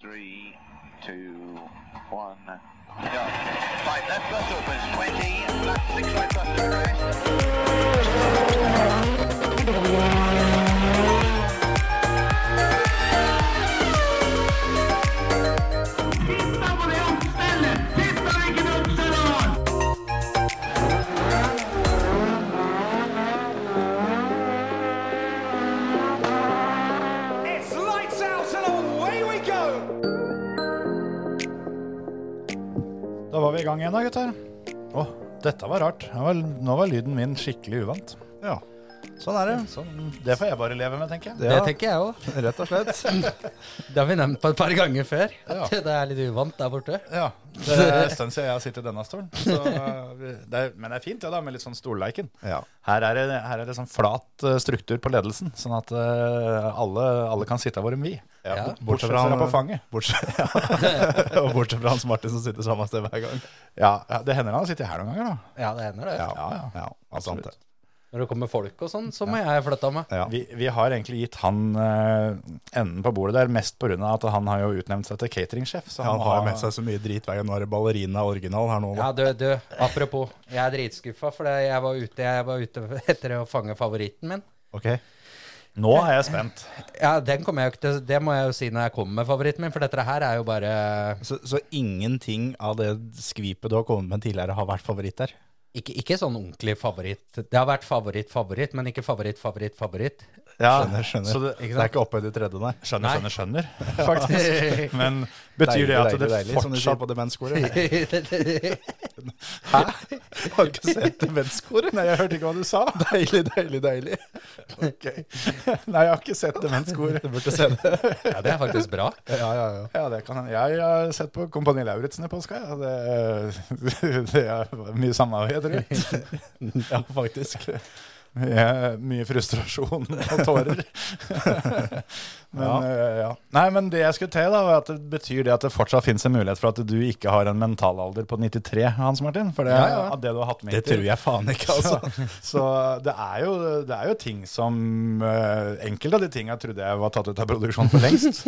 three, two, one, go. Right, left bus opens 20, left six right bus to arrest. It's lights out and away we go! Da var vi i gang igjen da, gutter. Å, dette var rart. Nå var, nå var lyden min skikkelig uvant. Ja. Sånn er det. Sånn, det får jeg bare leve med, tenker jeg. Ja, Det tenker jeg òg. Rett og slett. Det har vi nevnt på et par ganger før. At Ja. det er litt uvant der borte. Ja, det er en stund siden jeg har sittet i denne stolen. Så, eh, vi- det er, men det er fint det da, med litt sånn stolleiken. Ja. Her er det, her er det sånn flat eh, struktur på ledelsen, sånn at eh, alle, alle kan sitte hvor de vil. Ja. Bortsett fra på fanget. Bortsett, ja. Og bortsett fra Hans Martin som sitter samme sted hver gang. Ja, ja, det hender han sitter her noen ganger da. Ja, det hender det. Ja, ja, ja absolutt. sant det. Når det kommer folk og sånn, så må jeg flytte meg. Ja. Vi, vi har egentlig gitt han eh, enden på bordet der, mest på grunn av at han har jo utnevnt seg til catering-sjef. så Han må har ha- med seg så mye drit hver gang. Nå er det ballerina original her nå. Ja, du, du, apropos. Jeg er dritskuffa, for det- jeg var ute, jeg var ute etter å fange favoritten min. Ok. Nå er jeg spent. Ja, den kommer jeg jo ikke til Det må jeg jo si når jeg kommer med favoritten min, for dette her er jo bare Så, så ingenting av det skvipet du har kommet med tidligere, har vært favoritt der? Ikke, ikke sånn ordentlig favoritt. Det har vært favoritt, favoritt, men ikke favoritt, favoritt, favoritt. Skjønner, skjønner. Så det, Ikke det sant? er ikke opphøyd i tredje, nei? skjønner, Nei. skjønner, skjønner, faktisk. Men betyr det at det som de sier fortsatt på demenskoret? ja, Hæ? Har du ikke sett demenskoret? Nei, jeg hørte ikke hva du sa. Deilig, deilig, deilig. Nei, jeg har ikke sett demenskor. Du burde se det. det er faktisk bra. Ja, ja, ja. Ja, det kan hende. Jeg har sett på Kompani Lauritzen i påska. Ja. Det, det er mye samarbeid, tror jeg. Ja, faktisk. Mye, mye frustrasjon og tårer. Men, Ja. eh, ja. Nei, men det jeg skulle til, da, var at det betyr det at det fortsatt finnes en mulighet for at du ikke har en mentalalder på 93, Hans Martin? For det, Ja, ja. av det du har hatt med Det tror jeg faen ikke, altså. Så, så det, er jo, det er jo ting som eh, Enkelte av de tinga trodde jeg var tatt ut av produksjonen for lengst.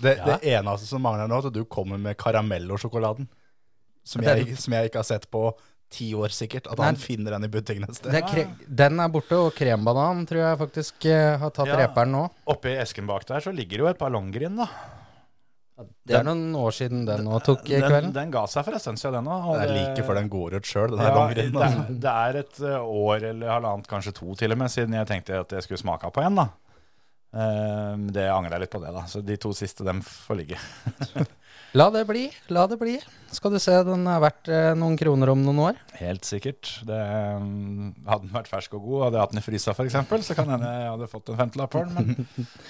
Det, det eneste som mangler nå, er at du kommer med karamellosjokoladen. Som, Den- jeg- som jeg ikke har sett på ti år, sikkert. At han Nei. finner den i butikken et sted. Det er kre den er borte, og krembanan tror jeg faktisk eh, har tatt Ja. reperen nå. Oppi esken bak der så ligger det jo et par longgrin, da. Det er noen år siden den nå tok i Den, kvelden. den ga seg for en stund siden, den òg. Det er like før den går ut sjøl, den Ja, her altså. det, longerinen. er, det er et eh, år eller halvannet, kanskje to til og med, siden jeg tenkte at jeg skulle smake på en. da. Ehm, det angrer jeg litt på det, da. Så de to siste, dem får ligge. La det bli, la det bli. Skal du se, den er verdt eh, noen kroner om noen år. Helt sikkert. Det, ehm, hadde den vært fersk og god, hadde jeg hatt den i frysa f.eks., så kan hende jeg hadde fått en femtelapp for den. Men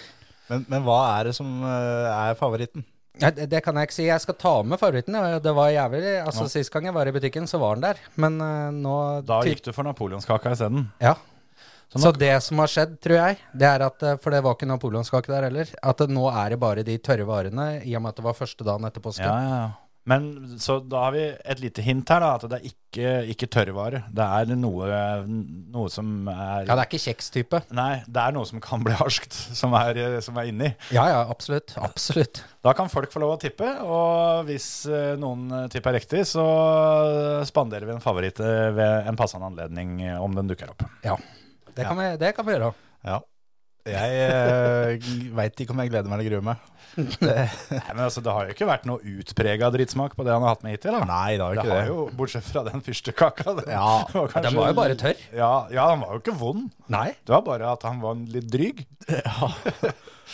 Men, men hva er det som eh, er favoritten? Nei, det, det kan jeg ikke si. Jeg skal ta med favoritten. ja. Det var jævlig. Altså, Sist gang jeg var i butikken, så var den der. Men eh, nå da gikk du for napoleonskaka isteden. Ja. Så det som har skjedd, tror jeg, det er at eh, For det var ikke napoleonskake der heller. At eh, nå er det bare de tørre varene, i og med at det var første dagen etter påske. Ja, ja, ja. Men så da har vi et lite hint her, da. At det er ikke, ikke tørrvare. Det er noe, noe som er Ja, det er ikke kjekstype. Nei, det er noe som kan bli harskt, som er, som er inni. Ja, ja, absolutt. Absolutt. Da kan folk få lov å tippe, og hvis eh, noen eh, tipper riktig, så spanderer vi en favoritt eh, ved en passende anledning, eh, om den dukker opp. Ja. Det kan, vi, det kan vi gjøre. Ja. Jeg uh, veit ikke om jeg gleder meg eller gruer meg. Nei, men altså, Det har jo ikke vært noe utprega dritsmak på det han har hatt med hittil. da. Nei, det har jo det ikke det. har jo, Bortsett fra den fyrstekaka. Den, Ja. Ja, den var jo bare tørr. Ja, ja, den var jo ikke vond. Nei. Det var bare at han var litt dryg.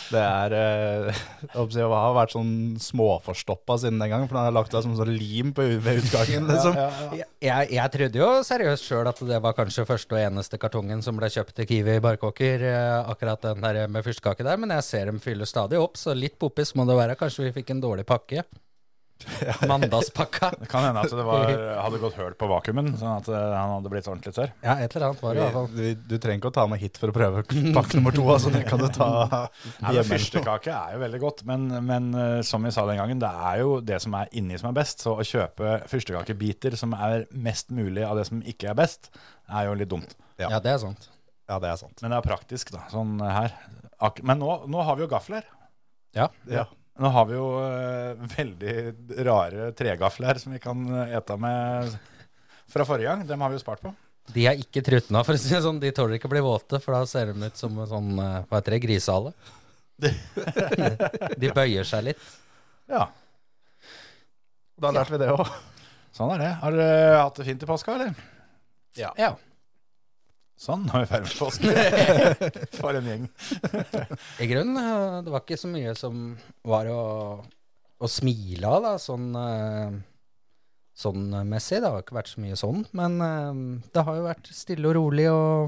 Det er eh, jeg håper å si, Jeg har vært sånn småforstoppa siden den gang, for den har lagt deg som sånn lim på, ved utgangen. Liksom. Jeg, jeg trodde jo seriøst sjøl at det var kanskje første og eneste kartongen som ble kjøpt til Kiwi i Barkåker, eh, akkurat den der med fyrstekake der, men jeg ser dem fyller stadig opp, så litt poppis må det være. Kanskje vi fikk en dårlig pakke. Mandagspakka. Det kan hende at det var, hadde gått høl på vakuumen, sånn at eh, han hadde blitt ordentlig tørr. Ja, et eller annet var det i hvert fall. Du, du trenger ikke å ta med hit for å prøve pakke nummer to. Altså, det kan du ta Nei, men Fyrstekake er jo veldig godt, men, men eh, som vi sa den gangen, det er jo det som er inni som er best. Så å kjøpe fyrstekakebiter som er mest mulig av det som ikke er best, er jo litt dumt. Ja. Ja, det er sant. Ja, det er sant. Men det er praktisk, da. Sånn her. Ak men nå, nå har vi jo gafler. Ja. Ja. Nå har vi jo eh, veldig rare tregafler som vi kan eh, ete med fra forrige gang. Dem har vi jo spart på. De er ikke trutna, for å si det sånn. De tåler ikke å bli våte, for da ser de ut som en sånn eh, hva heter det, grisehale. De bøyer seg litt. Ja, Da lærte vi det òg. sånn er det. Har dere hatt det fint i påska, eller? Ja. Sånn, nå er vi ferdig med påske. For en gjeng. I grunnen, eh, det var ikke så mye som var å, å smile av, da, sånn eh, Sånn messig. Det har ikke vært så mye sånn, men eh, det har jo vært stille og rolig og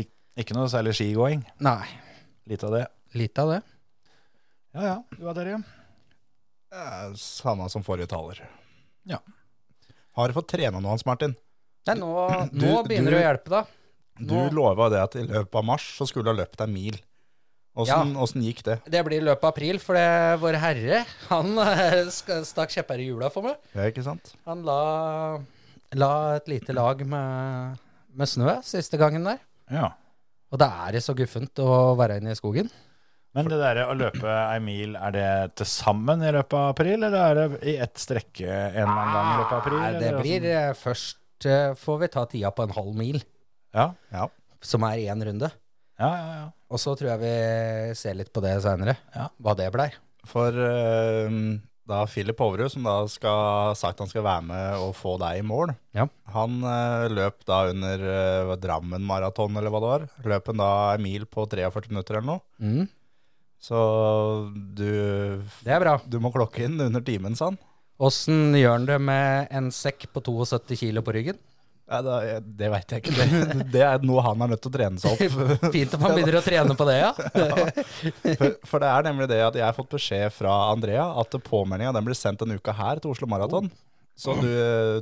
Ik ikke noe særlig skigåing. Nei, Litt av det. lite av det. Ja ja, du og Terje. Samme som forrige taler. Ja. Har du fått trena noe, Hans Martin? Nei, nå, Du- nå begynner det å du- hjelpe, da. Du Nå- lova det at i løpet av mars så skulle du ha løpt deg mil. Åssen åssen gikk det? Det blir i løpet av april, for det, vår herre han eh, sk- stakk kjepper i hjula for meg. Ja, ikke sant? Han la, la et lite lag med, med snø siste gangen der. Ja. Og det er så guffent å være inne i skogen. Men det der å løpe ei mil, er det til sammen i løpet av april, eller er det i ett strekke en eller annen gang i løpet av april? Nei, det eller blir hvordan? eh, Først eh, får vi ta tida på en halv mil, Ja, Ja. som er én runde. ja, ja. ja. Og så tror jeg vi ser litt på det seinere, Ja. hva det blei. For eh, da Philip Hoverud, som da skal sagt han skal være med og få deg i mål, Ja. han eh, løp da under eh, Drammen maraton, eller hva det var. Løp han da en mil på 43 minutter eller noe. Mm, Så du, det er bra. du må klokke inn under timen, sa han. Åssen gjør han det med en sekk på 72 kilo på ryggen? Nei, da, jeg- det veit jeg ikke. Det, det er noe han er nødt til å trene seg opp. Fint om han begynner å trene på det, ja. For, for det er nemlig det at jeg har fått beskjed fra Andrea at påmeldinga den blir sendt denne uka her til Oslo Oh. Maraton. Så du,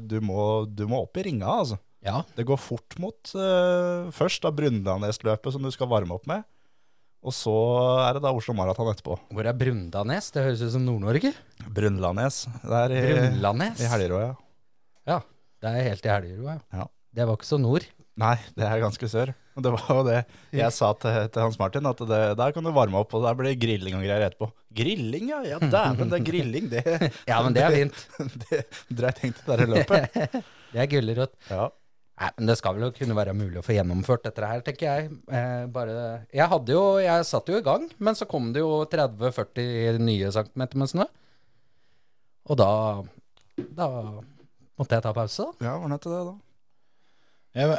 du, må, du må opp i ringa, altså. ja. Det går fort mot eh, først da Brundtlandnesløpet som du skal varme opp med. Og så er det da Oslo Maraton etterpå. Hvor er Brundanes? Det høres ut som Nord-Norge. Brundtlandnes. Det er Eh, i, Brundanes? i Helgerå, ja. Ja, det er helt i Helgerud. Ja. Det var ikke så nord. Nei, det er ganske sør. Og Det var jo det jeg sa til, til Hans Martin, at det, der kan du varme opp, og der blir det grilling og greier etterpå. Grilling, ja! Ja, dæven, det er grilling, det. Ja, men det er fint. det dreit jeg tenkte der i løpet. Det er gulrot. Ja. Nei, men det skal vel kunne være mulig å få gjennomført dette her, tenker jeg. Eh, bare, jeg hadde jo, jeg satt jo i gang, men så kom det jo 30-40 nye centimeter med snø. Og da, da måtte jeg ta pause, da. Ja, var nødt til det, da. Jeg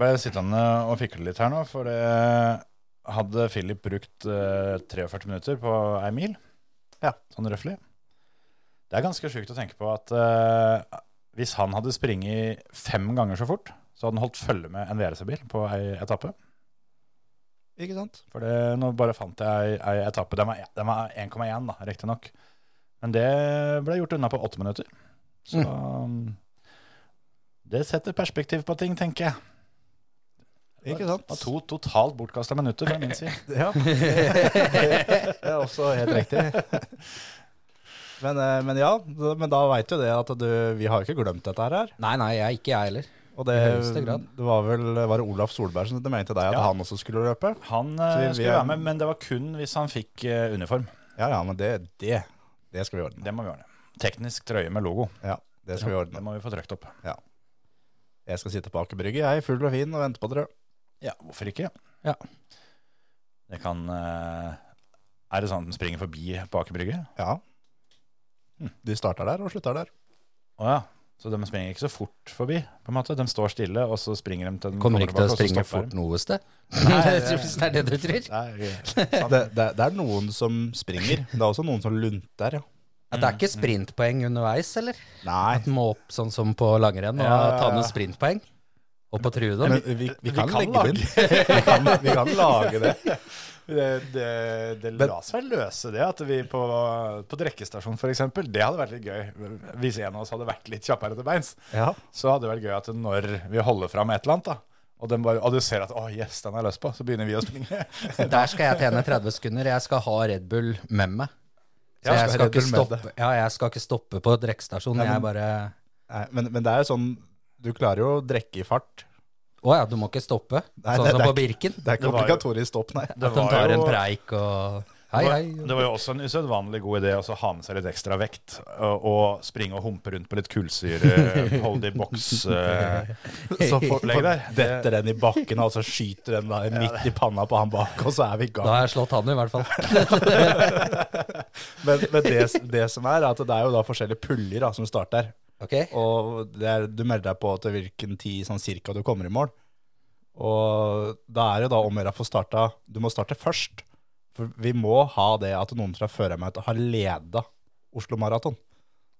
ble sittende eh, og fikle litt her nå, for det hadde Philip brukt eh, 43 minutter på ei mil. Ja. Sånn røftlig. Det er ganske sjukt å tenke på at eh, hvis han hadde springet fem ganger så fort, så hadde han holdt følge med en VRC-bil på ei etappe. Ikke sant? For det, nå bare fant jeg ei, ei etappe. Den var, den var 1,1, da, riktignok. Men det ble gjort unna på åtte minutter. Mm. Så um, det setter perspektiv på ting, tenker jeg. Ikke Det var sant? to totalt bortkasta minutter fra min side. Ja, det er også helt riktig. Men, eh, men ja, da- men da veit du det at du, vi har jo ikke glemt dette her. Nei, nei, jeg, ikke jeg heller. Og I det, høyeste grad. det var vel var det Olaf Solberg som mente til deg at Ja. han også skulle løpe? Han Så eh, vi- skulle være med, men det var kun hvis han fikk eh, uniform. Ja ja, men det, det, det skal vi ordne. Det må vi ordne. Teknisk trøye med logo. Ja, det skal vi Det ordne. må vi få trykt opp. Jeg skal sitte på Aker Brygge, jeg, full og fin, og vente på dere. Ja, hvorfor ikke? Ja. Det kan eh, Er det sånn at den springer forbi på Aker Brygge? Ja. De starter der og slutter der. Å ja. Så de springer ikke så fort forbi, på en måte. De står stille, og så springer de til den Kommer ikke til tilbake, å og så springe stopper fort de. noe sted. Nei, Hvis det er det du tror. Nei, Det, det, det er noen som springer. Det er også noen som lunter, ja. Ja, det er ikke sprintpoeng underveis, eller? Nei, At den må opp sånn som på langrenn og Ja, ja, ta ja. med sprintpoeng. Og på true, da. Men vi, vi, kan, kan legge lage- det inn. Vi kan, vi kan lage det. det, det, det la seg løse, det. At vi på, på drikkestasjon f.eks. Det hadde vært litt gøy. Hvis en av oss hadde vært litt kjappere til beins, Ja. så hadde det vært gøy at når vi holder fram et eller annet, da, og, den bare, og du ser at 'Å, yes, den er løs på', så begynner vi å springe. Der skal jeg tjene 30 sekunder. Jeg skal ha Red Bull med meg. Så Ja, skal jeg, skal ha Red ikke Bull med stoppe, ja, jeg skal ikke stoppe på drikkestasjonen. Jeg bare Nei, men, men det er jo sånn Du klarer jo å drikke i fart. Å ja, du må ikke stoppe. Nei, sånn det- som det er på Birken. Det er Det var ikke jo- obligatorisk stopp, nei. At de var tar jo- en preik og Hei, hei. Det var jo også en usedvanlig god idé også å ha med seg litt ekstra vekt og, og springe og humpe rundt på litt kullsyreholdig boks. eh, Så for, Opplegg for der. detter den i bakken, og så skyter den da midt i panna på han bak, og så er vi i gang. Da har jeg slått han i hvert fall. Men, men det, det som er, er at det er jo da forskjellige puljer da, som starter. Ok, Og det er, du melder deg på til hvilken tid sånn cirka du kommer i mål. Og da er det da om å gjøre å få starta Du må starte først. For vi må ha det at noen fra før av meg har leda Oslo Maraton.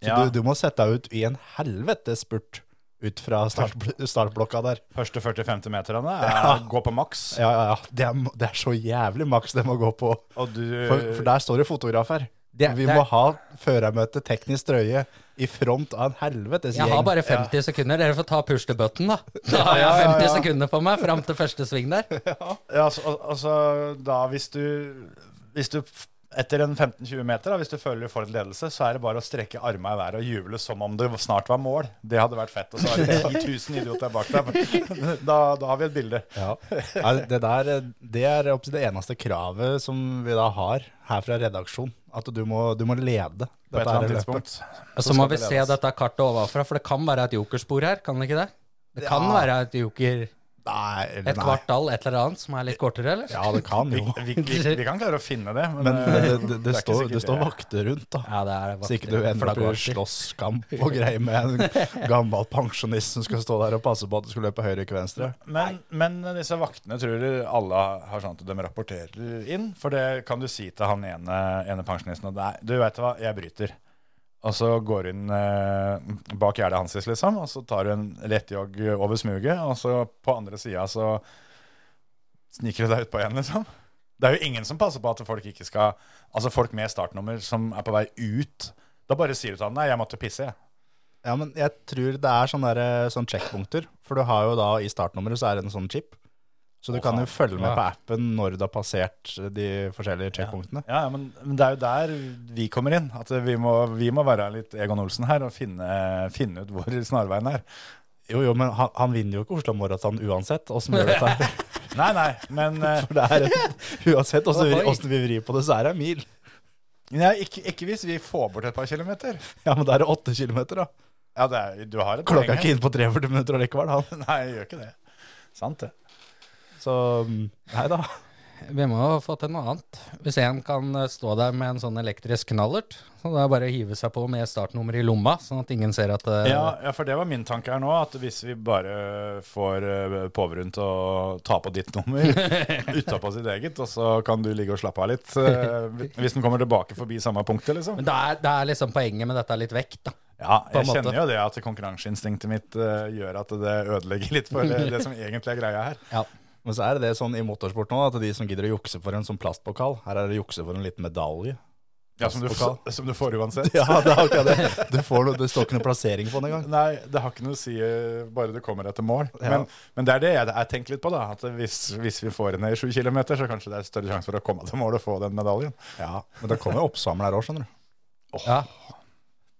Så Ja. du, du må sette deg ut i en helvetes spurt ut fra startbl startblokka der. Første 40-50 meterne er gå på maks. Ja, ja, ja. Det er, det er så jævlig maks det må gå på. Og du For, for der står det fotograf her. Det- vi det- må ha førermøte teknisk drøye i front av en helvetes Jeg gjeng. har bare 50 sekunder. Dere får ta push-to-button, da. Da har Ja, ja, jeg ja, 50 ja. sekunder på meg fram til første sving der. Ja, altså, al- altså da hvis du, hvis du f- etter en 15-20 meter, da, hvis du føler du får en ledelse, så er det bare å strekke armene i været og juble som om det snart var mål. Det hadde vært fett. Og så er det 10 000 idioter bak deg. Da, da har vi et bilde. Ja. Nei, Det der det er opp til det eneste kravet som vi da har her fra redaksjon. At du må, du må lede. På et dette eller annet her løpet. tidspunkt. Og så må vi se dette kartet ovenfra, for det kan være et jokerspor her, kan det ikke det? Det kan Ja. være et joker, Nei, eller et nei. kvartal, et eller annet, som er litt kortere, eller? Ja, det kan Vi, jo. vi, vi, vi kan klare å finne det, men, Men eh, det, det, det, er ikke står, det sikkert står det er- vakter rundt, da. Ja, det er Så ikke du ender opp i flaggvakter. slåsskamp og greier med en gammel pensjonist som skal stå der og passe på at du skal løpe høyre, ikke venstre. Men, men disse vaktene tror du alle har sånn at de rapporterer inn. For det kan du si til han ene, ene pensjonisten at nei, du vet hva, jeg bryter. Og så går hun eh, bak gjerdet hans, liksom, og så tar hun en lettjogg over smuget. Og så på andre sida så sniker du deg utpå igjen, liksom. Det er jo ingen som passer på at folk ikke skal Altså folk med startnummer som er på vei ut. Da bare sier du til han nei, jeg måtte pisse, jeg. Ja, men jeg tror det er sånne, der, sånne checkpunkter. For du har jo da i startnummeret så er det en sånn chip. Så du Å, kan jo faen. følge med på appen når du har passert eh, de forskjellige checkpunktene. Ja, ja, men, men det er jo der vi kommer inn. At vi må, vi må være litt Egon Olsen her og finne, finne ut hvor snarveien er. Jo, jo, men han, han vinner jo ikke Oslo Marathon uansett åssen vi gjør dette. her. Nei, nei, men eh, For det er et, uansett åssen vi, Oi. hvordan vi vrir på det, så er det en mil. nei, ikke, ikke hvis vi får bort et par kilometer. Ja, men da er det åtte kilometer, da. Ja, det er, du har et poeng Klokka er ikke her. inne på 43 minutter allikevel, han. Nei, jeg gjør ikke det. Sant det. Så mm, nei da. Vi må jo få til noe annet. Hvis en kan eh, stå der med en sånn elektrisk knallert, så det er bare å hive seg på med startnummeret i lomma, sånn at ingen ser at eh, Ja, ja, for det var min tanke her nå, at hvis vi bare får eh, påverun til å ta på ditt nummer utapå sitt eget, og så kan du ligge og slappe av litt eh, hvis den kommer tilbake forbi samme punktet, liksom. Men det er, det er liksom poenget med dette litt vekt, da. Ja, på en jeg måte. kjenner jo det at konkurranseinstinktet mitt eh, gjør at det ødelegger litt for eh, det, det som egentlig er greia her. Ja. Men så er det det sånn i motorsport nå, at de som gidder å jukse for en sånn plastpokal, her er det jukse for en liten medalje. Ja, som du, Pokal. som du får uansett. Ja, det er akkurat det. Du får noe, det står ikke noe plassering på den engang. Nei, det har ikke noe å si eh, bare du kommer etter mål. Ja. Men, men det er det jeg, jeg tenker litt på, da. At hvis, hvis vi får henne i sju kilometer, så kanskje det er større sjanse for å komme til mål og få den medaljen. Ja, men det kommer jo oppsamler her òg, skjønner du. ja.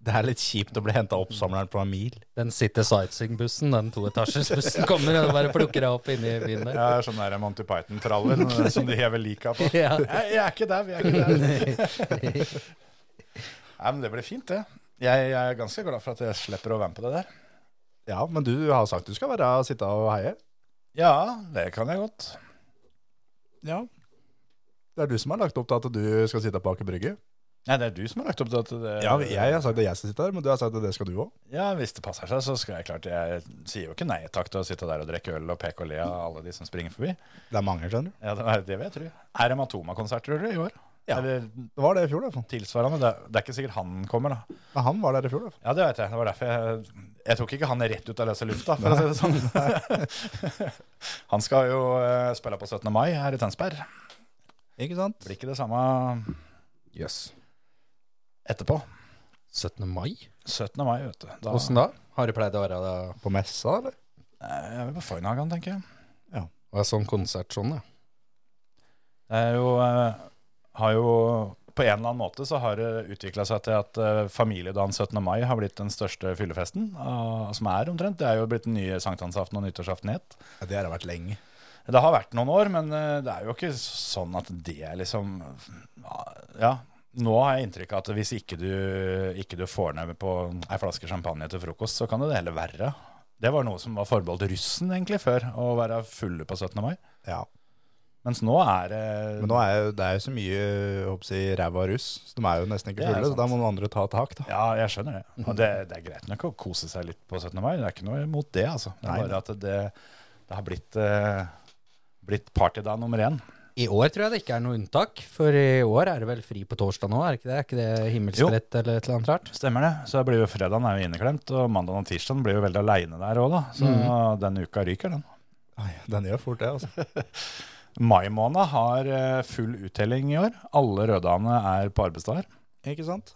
Det er litt kjipt å bli henta oppsamleren på en mil. Den sitter sightseeingbussen, den toetasjersbussen kommer og bare plukker deg opp inne i byen der. Jeg er sånn der Monty Python-traller eh, som de hever lika på. Ja. Jeg, jeg er ikke der, vi er ikke der. Nei, men det blir fint, det. Jeg, jeg er ganske glad for at jeg slipper å være med på det der. Ja, men du har sagt du skal være og sitte og heie. Ja, det kan jeg godt. Ja. Det er du som har lagt opp til at du skal sitte på Aker Brygge. Nei, det er du som har lagt opp til at det Ja, jeg har sagt at jeg skal sitte der, men du har sagt at det skal du òg. Ja, hvis det passer seg, så skal jeg klart Jeg sier jo ikke nei takk til å sitte der og drikke øl og peke og le av alle de som springer forbi. Det er mange, skjønner du. Ja, det, er- det vil jeg tro. Er det Matoma-konsert, tror du, i år? Ja. Eller Det var det i fjor, i hvert fall. tilsvarende? Det, er- det er ikke sikkert han kommer, da. Men han var der i fjor, i hvert fall. Ja, det vet jeg. Det var derfor jeg Jeg tok ikke han rett ut av løse lufta, for å si det sånn. han skal jo eh, spille på 17. mai her i Tønsberg. Ikke sant? Blir ikke det samme Jøss. etterpå. 17. mai? 17. mai, vet du. Da, Åssen da? Har det pleid å være da? På messa, eller? Eh, Jeg vil på Foynhagan, tenker jeg. Og sånn konsert sånn, ja. Det er jo, eh, har jo på en eller annen måte så har det utvikla seg til at eh, familiedagen 17. mai har blitt den største fyllefesten, ah, som er omtrent. Det er jo blitt den nye sankthansaften og nyttårsaften het. Ja, det har det vært lenge. Det har vært noen år, men eh, det er jo ikke sånn at det er liksom Ja. Nå har jeg inntrykk av at hvis ikke du, ikke du får ned på ei flaske champagne til frokost, så kan det heller verre. Det var noe som var forbeholdt russen egentlig før, å være fulle på 17. mai. Ja. Mens nå er eh, det Men nå er jo, det er jo så mye håper jeg, ræva russ, så de er jo nesten ikke Det er fulle, så sant. da må noen andre ta tak. da. Ja, jeg skjønner det. Og det, det er greit nok å kose seg litt på 17. mai. Det er ikke noe imot det, altså. Det Nei. er bare at det, det har blitt, eh, blitt partydag nummer én. I år tror jeg det ikke er noe unntak, for i år er det vel fri på torsdag nå, er det ikke det? Er ikke det himmelsrett eller et eller annet rart? Stemmer det. Så det blir jo fredagen er jo inneklemt, og mandagen og tirsdagen blir jo veldig aleine der òg, da. Så den uka ryker, den. Ai, Mm. Ah, den gjør fort det, altså. Mai måned har eh, full uttelling i år. Alle røddagene er på arbeidsdager. Ikke sant?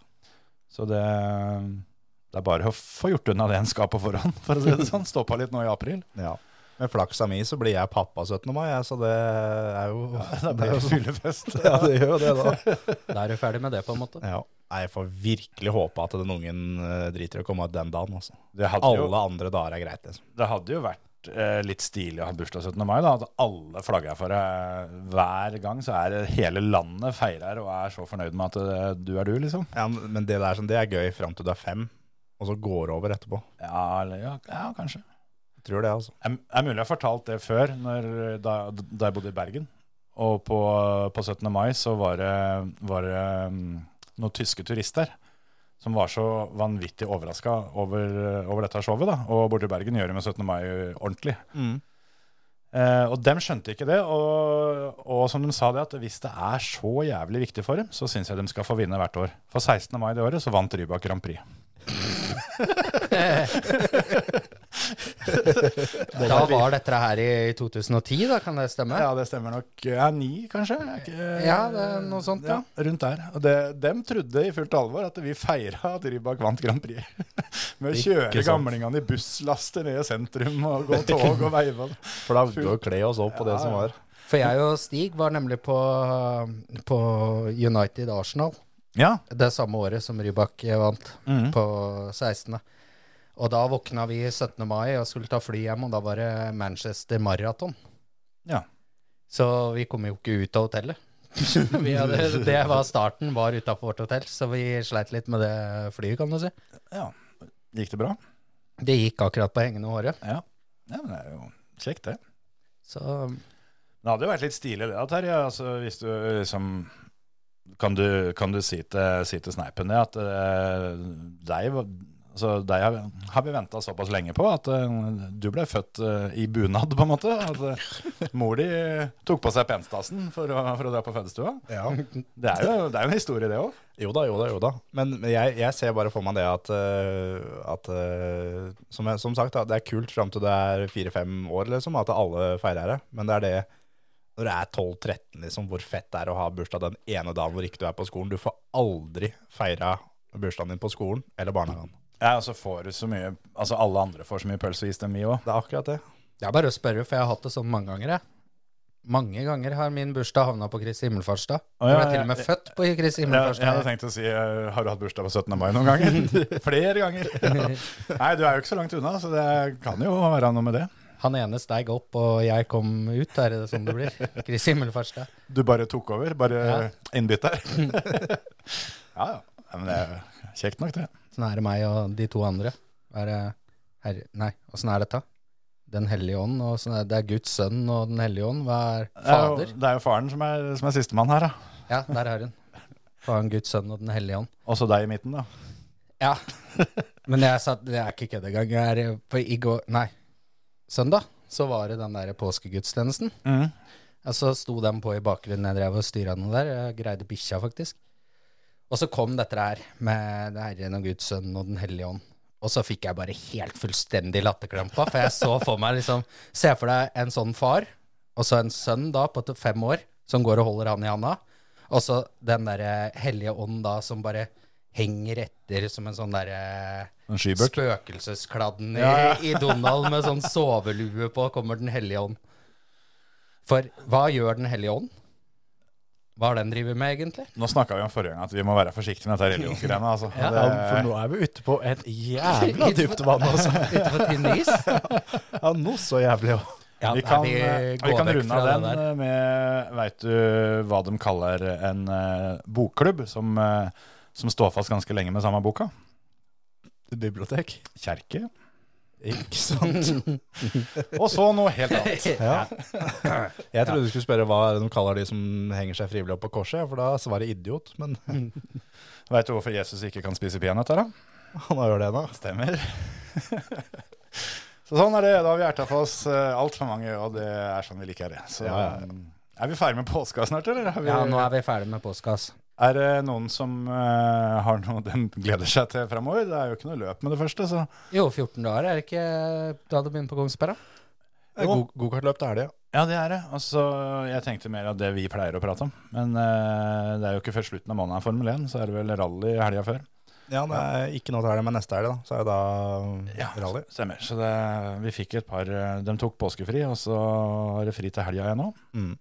Så det, det er bare å få gjort unna det en skal på forhånd, for å si det sånn. Stå på litt nå i april. Ja. Med flaksa mi så blir jeg pappa 17. mai, jeg, så det er jo Det blir jo fyllefest. Ja, det gjør jo det, da. Da er du ferdig med det, på en måte. Ja. Nei, Jeg får virkelig håpe at den ungen eh, driter i å komme ut den dagen. Altså. Det hadde jo- Alle andre dager er greit. Liksom. Det hadde jo vært eh, litt stilig å ha bursdag 17. mai, da, at alle flagger for deg hver gang. Så er det hele landet feirer og er så fornøyd med at eh, du er du, liksom. Ja, men men det der sånn, det er gøy fram til du er fem, og så går det over etterpå. Ja, eller, ja, ja kanskje. Jeg tror det, altså. Det er mulig jeg har fortalt det før, når, da, da jeg bodde i Bergen. Og på, på 17. mai så var det, var det mm, noen tyske turister som var så vanvittig overraska over, over dette showet. da. Og borte i Bergen gjør de med 17. mai ordentlig. Eh, og dem skjønte ikke det. Og, og som de sa det, at hvis det er så jævlig viktig for dem, så syns jeg de skal få vinne hvert år. For 16. mai det året så vant Rybak Grand Prix. Da var dette her i 2010, da, kan det stemme? Ja, det stemmer nok. Ja, ni, kanskje? Er ikke- Ja, det er noe sånt, ja. Rundt der. Og det, dem trodde i fullt alvor at vi feira at Rybak vant Grand Prix. Med å kjøre Ikke sant. gamlingene i busslaster ned i sentrum og gå tog og veive. Flagge og kle oss opp på det Ja, som ja. var. For jeg og Stig var nemlig på, på United Arsenal Ja. det samme året som Rybak vant, Mhm. på 16. Og da våkna vi 17. mai og skulle ta fly hjem, og da var det Manchester Marathon. ja. Så vi kom jo ikke ut av hotellet. vi hadde, det var starten, var utafor vårt hotell, så vi sleit litt med det flyet, kan du si. ja. Gikk det bra? Det gikk akkurat på hengende håret. Ja. ja. Men det er jo kjekt, det. Så Det hadde jo vært litt stilig det, da, Terje. Altså, hvis du liksom Kan du, kan du si, til, si til sneipen det at eh, deg var- altså, deg har, har vi venta såpass lenge på at eh, du ble født eh, i bunad, på en måte. At eh, mor di tok på seg penstasen for å, for å dra på fødestua. Det er jo det er jo en historie, det òg. Jo da, jo da, jo da. Men men jeg, jeg ser bare for meg det at, øh, at øh, som, jeg, som sagt, da, det er kult fram til det er fire-fem år, liksom, at alle feirer det. Men det er det når det er 12-13, liksom, hvor fett det er å ha bursdag den ene dagen hvor ikke du er på skolen. Du får aldri feira bursdagen din på skolen eller barnehagen. Ja, og så får du så mye Altså, alle andre får så mye pølse og is, dem vi òg. Det er akkurat det. Det er bare å spørre, for jeg har hatt det sånn mange ganger. Jeg. Mange ganger har min bursdag havna på Kristi himmelfartsdag. Å, Jeg ja, ble til og med ja, født på Kristi Jeg, jeg hadde himmelfartsdag. tenkt å si eh, Har du hatt bursdag på 17. mai noen ganger? Flere ganger. Ja. Nei, du er jo ikke så langt unna, så det kan jo være noe med det. Han ene steig opp, og jeg kom ut. Er det sånn det blir? Kristi himmelfartsdag. Du bare tok over, bare Ja. innbytter. ja, ja. Nei, Men det er kjekt nok, det. Sånn er det meg og de to andre. Er det herre... Nei, åssen er dette? Den hellige ånd, og sånn er det er Guds sønn og Den hellige ånd. Hva er Det er jo, Fader? det er jo faren som er, som er sistemann her, da. Ja, der har hun. Faren, Guds sønn og Den hellige ånd. Også deg i midten, da. Ja. Men jeg satt, det er ikke kødd engang. Jeg er på i går Nei, søndag så var det den der påskegudstjenesten. Mhm. Og så sto den på i bakgrunnen. Jeg drev og styra noe der. Jeg greide bikkja, faktisk. Og så kom dette her med Herren og Guds sønn og Den hellige ånd. Og så fikk jeg bare helt fullstendig latterkrampa, for jeg så for meg liksom Se for deg en sånn far, og så en sønn da på t- fem år som går og holder han i handa, og så den derre hellige ånd da som bare henger etter som en sånn derre En skybert. spøkelseskladden i, Ja, i Donald med sånn sovelue på, kommer Den hellige ånd. For hva gjør Den hellige ånd? Hva har den driver med, egentlig? Nå snakka vi om forrige gang at vi må være forsiktige med dette religionsgreiene. Altså. Ja. Det, for nå er vi ute på et jævla dypt vann, altså. Utenfor tynn is? Ja, noe så jævlig òg. Ja, vi nei, kan, vi eh, vi går kan vekk runde av fra den det eh, med Veit du hva de kaller en eh, bokklubb som, eh, som står fast ganske lenge med samme boka? Bibliotek. Kjerke. Ikke sant? Og så noe helt annet. Ja. Jeg trodde du skulle spørre hva er det de kaller de som henger seg frivillig opp på korset, ja, for da svarer idiot, men Veit du hvorfor Jesus ikke kan spise peanøtter? da? han har jo det nå. Stemmer. så sånn er det. Da har vi erta for oss altfor mange, og det er sånn vi liker det. Så Ja, ja. um, er vi ferdig med påska snart, eller? Er, vi, Ja, nå er... er vi ferdig med postkass. det noen som eh, har noe den gleder seg til framover? Det er jo ikke noe løp med det første, så Jo, 14 dager er det ikke da du begynner på Kongsberg? da? Det er Jo. go- Gokartløp, det er det, ja. Ja, det er det. Altså, jeg tenkte mer av det vi pleier å prate om. Men eh, det er jo ikke før slutten av måneden er Formel 1, så er det vel rally helga før. Ja, det er ikke nå til helga, men neste helg, da. Så er det da rally. Stemmer. Så det, vi fikk et par eh, De tok påskefri, og så er det fri til helga igjen nå. Mm.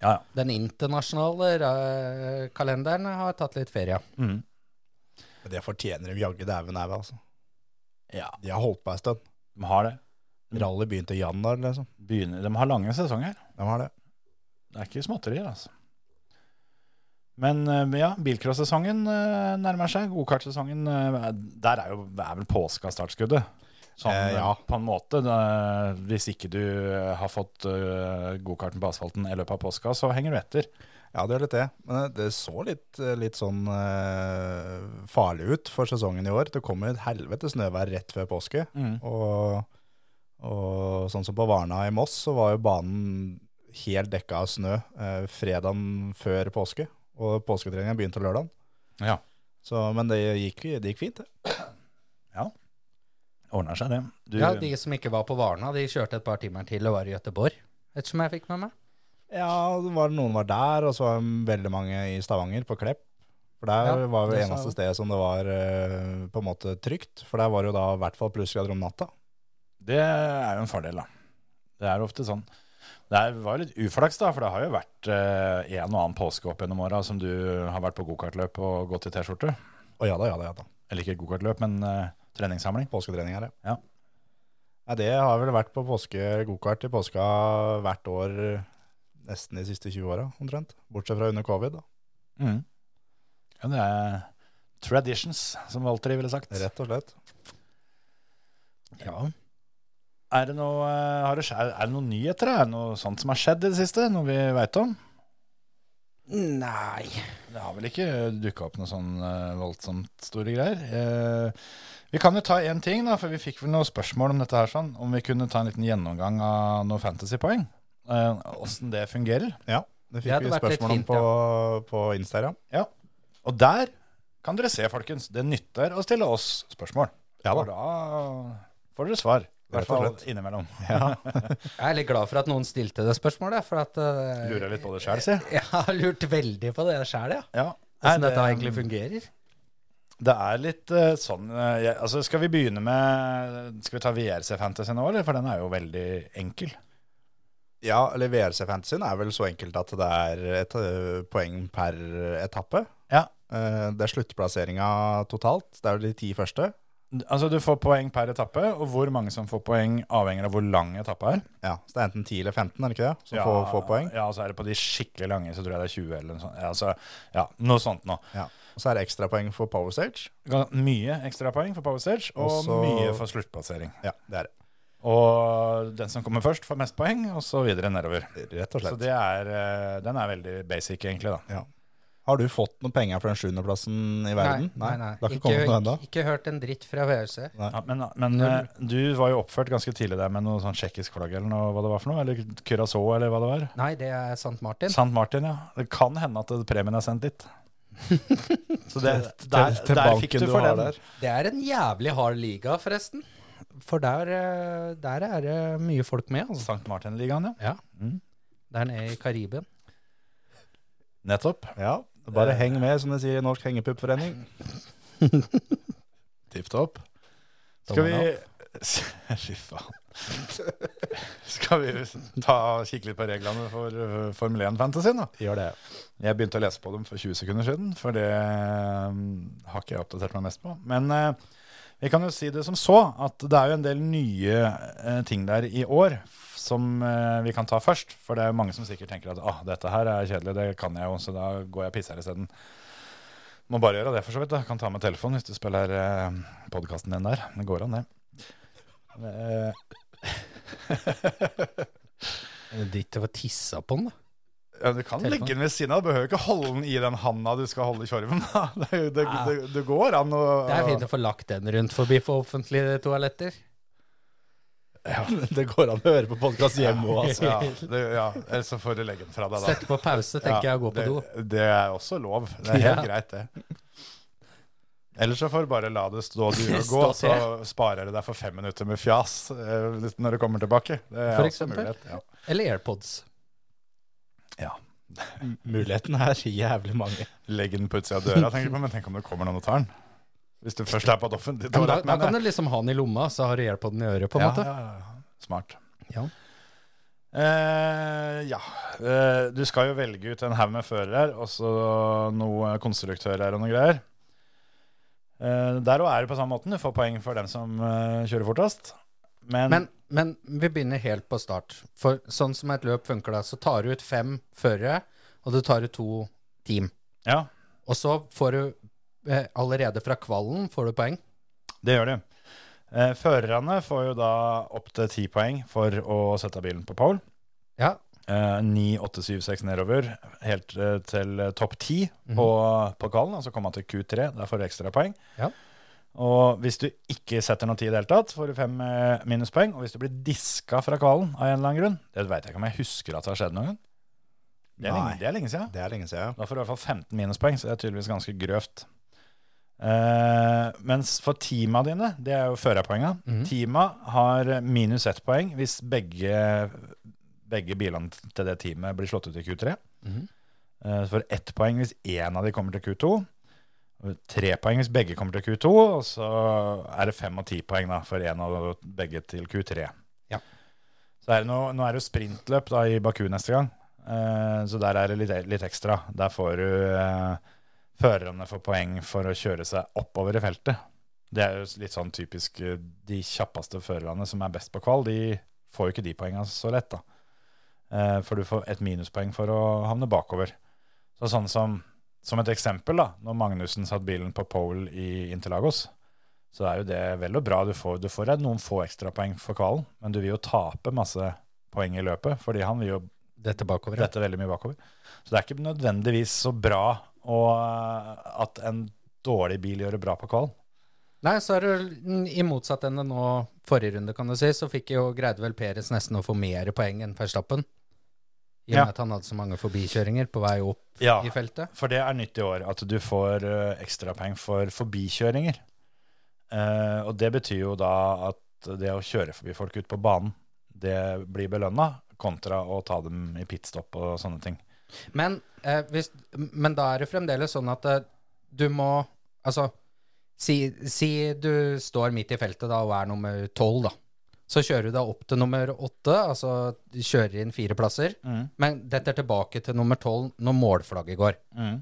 Ja, ja. Den internasjonale eh, kalenderen har tatt litt ferie. Mm. Men det fortjener de jaggu dæven æve, altså. Ja. De har holdt på ei stund. De har det. Rally begynte i januar, liksom. Begynner, de har lange sesonger. De har det. Det er ikke småtterier, altså. Men eh, ja, bilcross-sesongen eh, nærmer seg. Gokart-sesongen eh, Der er jo er vel påska startskuddet. Sånn Eh, ja. eh, på en måte. Da, hvis ikke du eh, har fått eh, gokarten på asfalten i løpet av påska, så henger du etter. Ja, det gjør litt det. Men eh, det- det så litt, litt sånn eh, farlig ut for sesongen i år. Det kom jo et helvete snøvær rett før påske. Og, og sånn som på Varna i Moss, så var jo banen helt dekka av snø eh, fredagen før påske. Og påsketreninga begynte lørdagen. Ja. Så, men det gikk, det gikk fint, det. Ordner seg, det. Du, Ja, De som ikke var på Varna, de kjørte et par timer til og var i Gøteborg. Ettersom jeg fikk med meg. Ja, det var, noen var der, og så var det veldig mange i Stavanger, på Klepp. For der Ja, var jo det det sa eneste jeg. stedet som det var eh, på en måte trygt. For der var det jo da i hvert fall plussgrader om natta. Det er jo en fordel, da. Det er ofte sånn. Det er- var jo litt uflaks, da, for det har jo vært eh, en og annen påske opp gjennom åra som du har vært på gokartløp og gått i T-skjorte. Å ja da, ja da, ja da. Eller ikke gokartløp, men eh, treningssamling. Påsketrening her, Ja. Nei, det har vel vært på påske gokart i påska hvert år eh, nesten de siste 20 åra, omtrent. Bortsett fra under covid, da. Mm. Ja, det er traditions, som Walter ville sagt. Rett og slett. Ja. Er det, noe, eh, har det, skje- er det noen nyheter? Er det noe sånt som har skjedd i det siste? Noe vi veit om? Nei. Det har vel ikke dukka opp noe sånn eh, voldsomt store greier. Eh, vi kan jo ta én ting, da, for vi fikk vel noen spørsmål om dette her, sånn. Om vi kunne ta en liten gjennomgang av noen fantasypoeng. Åssen det fungerer. Ja. Det fikk hadde vi vært litt spørsmål om fint, på, på Instagram. Ja. Og der kan dere se, folkens. Det nytter å stille oss spørsmål. Ja da. For da får dere svar. I Rett hvert og fall innimellom. Jeg er litt glad for at noen stilte det spørsmålet, for at eh, Lurer litt på det sjøl, si. Jeg har lurt veldig på det sjæl, ja. Ja. Åssen Nei, dette egentlig fungerer. Det er litt eh, sånn eh, jeg, altså Skal vi begynne med Skal vi ta VRC Fantasy nå, eller? For den er jo veldig enkel. Ja, eller VRC Fantasyen er vel så enkelt at det er et ø, poeng per etappe. Ja. Eh, Det er sluttplasseringa totalt. Det er jo de ti første. Altså Du får poeng per etappe, og hvor mange som får poeng, avhenger av hvor lang etappa er. Ja, så det er enten 10 eller 15, er det ikke det? Som får, får poeng. Ja, og så er det på de skikkelig lange, så tror jeg det er 20 eller noe sånt. Ja, altså, ja, noe sånt nå. Ja. Og så er det ekstrapoeng for Power Stage. Gan- Mye ekstrapoeng for Power Stage, og Også- mye for sluttplassering. Ja, det er det. Og den som kommer først, får mest poeng, og så videre nedover. Rett og Så slett. det er, eh, den er veldig basic, egentlig. da. Ja. Har du fått noen penger for den sjuendeplassen i verden? Det har ikke Ikke, kommet noe ennå? ikke, ikke hørt en dritt fra VRC. Ja, men men eh, du var jo oppført ganske tidlig der med noe sånn tsjekkisk flagg eller noe, hva det var for noe? Eller Curacao, eller hva det var? Nei, det er Sant Martin. Sant Martin, ja. Det kan hende at premien er sendt dit. Så det, Til- der, til der banken fikk du du for har den. der. Det er en jævlig hard liga, forresten. For der, eh, der er det mye folk med, altså. Sankt Martin-ligaen, ja. Ja. Mm. Der nede i Karibien. Nettopp. Ja. Bare heng med, som de sier i Norsk Hengepuppforening. Tipp topp. Skal vi Tommelen Fy faen. Skal vi ta kikke litt på reglene for eh, Formel 1-fantasyen, da? Gjør det. Jeg begynte å lese på dem for 20 sekunder siden, for det eh, har ikke jeg oppdatert meg mest på. Men eh, Vi kan jo si det som så, at det er jo en del nye eh, ting der i år f- som eh, vi kan ta først. For det er jo mange som sikkert tenker at ah, dette her er kjedelig, det kan jeg jo, så da går jeg og pisser isteden. Må bare gjøre det, for så vidt. da. Kan ta med telefonen hvis du spiller eh, podkasten din der. Det går an, det. Eh, Er det dritt å få tissa på den, da? Ja, du kan Telefon. legge den ved siden av. Du behøver ikke holde den i den handa du skal holde i kjorven. Da. Det, er jo- det, det, det går an å Ah. Det er fint å få lagt den rundt forbi for offentlige toaletter. Det går an å høre på podkast hjemme òg, altså. Ja, det, ja, ellers så får du legge den fra deg, da. Sette på pause, tenker jeg, og gå på do. det, det er også lov. Det er helt Ja. greit, det. Ellers så får du bare la det stå du og gå, Stå så sparer du deg for fem minutter med fjas eh, når du kommer tilbake. Det er For også eksempel? mulighet. Ja. Eller AirPods. Muligheten er jævlig mange. Legg den på utsida av døra, tenker jeg på, men tenk om det kommer noen og tar den. Hvis du først er på et offentlig Ja, men da, toalett. da men- kan du liksom ha den i lomma, så har du AirPoden i øret, på en ja, måte. Ja, ja, ja. Smart. Ja. Eh, ja. Eh, du skal jo velge ut en haug med førere, og så noen konstruktører og noe greier. Eh, der òg er det på samme måten. Du får poeng for dem som eh, kjører fortest. Men, Men, men vi begynner helt på start. For sånn som et løp funker da, så tar du ut fem førere, og du tar ut to team. ja, Og så får du eh, allerede fra kvallen får du poeng. det gjør de. Eh, førerne får jo da opptil ti poeng for å sette bilen på pole. Ja. Eh, 9, 8, 7, 6 nedover, helt eh, til eh, topp 10 Mhm. på, på kvallen, og så kommer man til Q3, der får du ekstra poeng. Ja. Og hvis du ikke setter noen tid i det hele tatt, får du fem eh, minuspoeng, og hvis du blir diska fra kvallen av en eller annen grunn, det vet jeg ikke om jeg husker at det har skjedd noen gang. Det er, Nei. lenge, det er lenge siden. Det er lenge siden. Da får du i hvert fall 15 minuspoeng, så det er tydeligvis ganske grøvt. Eh, mens for teama dine, det er jo førerpoenga, Mhm. teama har minus ett poeng hvis begge, begge bilene til det teamet blir slått ut i Q3. Mhm. Eh, så får du ett poeng hvis én av de kommer til Q2. og Tre poeng hvis begge kommer til Q2, og så er det fem og ti poeng da, for én av begge til Q3. Ja. Så er det noe, nå er det jo sprintløp da, i Baku neste gang. Eh, Så der er det litt, litt ekstra. Der får du eh, førerne får poeng for å kjøre seg oppover i feltet. Det er jo litt sånn typisk eh, de kjappeste førerne som er best på kval, de får jo ikke de poengene så lett, da. Eh, For du får et minuspoeng for å havne bakover. Så sånn som, som et eksempel, da, når Magnussen satt bilen på pole i Interlagos, så er jo det vel og bra. Du får, du får noen få ekstrapoeng for kvalen, men du vil jo tape masse poeng i løpet, fordi han vil jo Dette bakover. dette veldig mye bakover. Så det er ikke nødvendigvis så bra å, eh, at en dårlig bil gjør det bra på kvalen. Nei, så er det mm, i motsatt ende nå, forrige runde kan du si, så fikk jo greide vel Peres nesten å få mer poeng enn Verstappen. I og med Ja. at han hadde så mange forbikjøringer på vei opp Ja, i feltet. for det er nytt i år at du får eh, ekstrapoeng for forbikjøringer. Eh, og det betyr jo da at det å kjøre forbi folk ut på banen, det blir belønna, kontra å ta dem i pitstop og sånne ting. Men, eh, hvis, men da er det fremdeles sånn at eh, du må Altså, si, si du står midt i feltet da og er nummer tolv, da. Så kjører du deg opp til nummer åtte, altså du kjører inn fire plasser. Men detter tilbake til nummer tolv når målflagget går.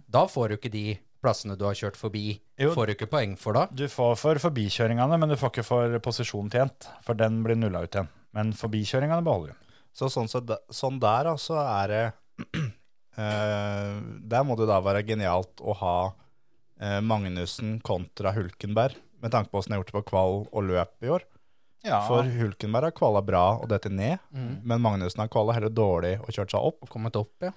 Da får du ikke de plassene du har kjørt forbi, Jo. får du ikke poeng for da. Du får for forbikjøringene, men du får ikke for posisjon tjent, for den blir nulla ut igjen. Men forbikjøringene beholder du. Så sånn, så de- sånn der, da, så er det eh, Der må det da være genialt å ha eh, Magnussen kontra Hulkenberg, med tanke på åssen jeg har gjort det på kval og løp i år. Ja, Mm. For Hulkenberg har kvala bra og dette ned, men Magnussen har kvala heller dårlig og kjørt seg opp. Kommet opp, ja.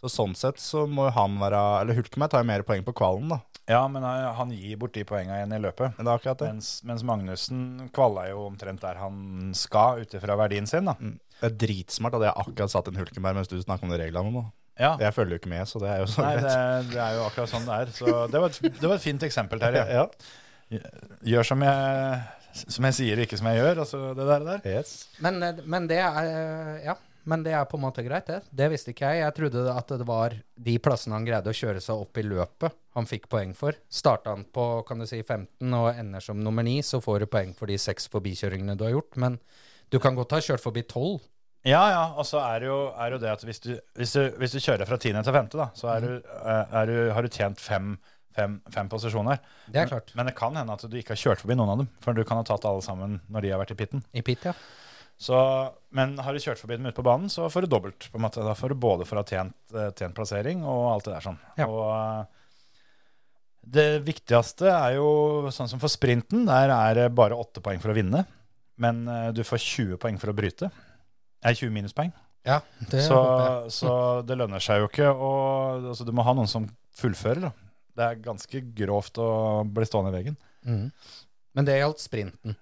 Så sånn sett så må han være Eller Hulkenberg tar jo mer poeng på kvalen, da. ja men han han gir bort de poenga igjen i løpet. Men det er akkurat det. Mens, mens Magnussen kvalla jo omtrent der han skal, ut ifra verdien sin. da. Det er dritsmart at jeg akkurat satt inn Hulkenberg mens du snakka om de reglene nå. Ja, Jeg følger jo ikke med, så det er jo sånn så Nei, det, greit. det er jo akkurat sånn det er. Så det var et, det var et fint eksempel, Terje. Ja. Gjør som jeg, som jeg sier, ikke som jeg gjør. Altså det der. der. Yes. Men, eh, men det er eh, Ja. Men det er på en måte greit, det. Det visste ikke jeg. Jeg trodde at det var de plassene han greide å kjøre seg opp i løpet han fikk poeng for. Starta han på kan du si 15 og ender som nummer 9, så får du poeng for de seks forbikjøringene du har gjort. Men du kan godt ha kjørt forbi 12. Ja, ja. Og så er det jo, er Mm. jo det at hvis du, hvis, du, hvis du kjører fra tiende til femte, da, så er du, eh, er du, har du tjent fem fem, fem posisjoner. Det er klart. Men det kan hende at du ikke har kjørt forbi noen av dem, for du kan ha tatt alle sammen når de har vært i pitten. I pit, ja. Så, men har du kjørt forbi dem ute på banen, så får du dobbelt. på en måte. Da får du både for å ha tjent, eh, tjent plassering og alt det der sånn. Ja. Og eh, det viktigste er jo sånn som for sprinten. Der er det bare åtte poeng for å vinne. Men eh, du får 20 poeng for å bryte. Nei, 20 minuspoeng. ja det Så, håper jeg. så det lønner seg jo ikke. Og, altså, du må ha noen som fullfører. Da. Det er ganske grovt å bli stående i veggen. Mhm. Men det gjaldt sprinten.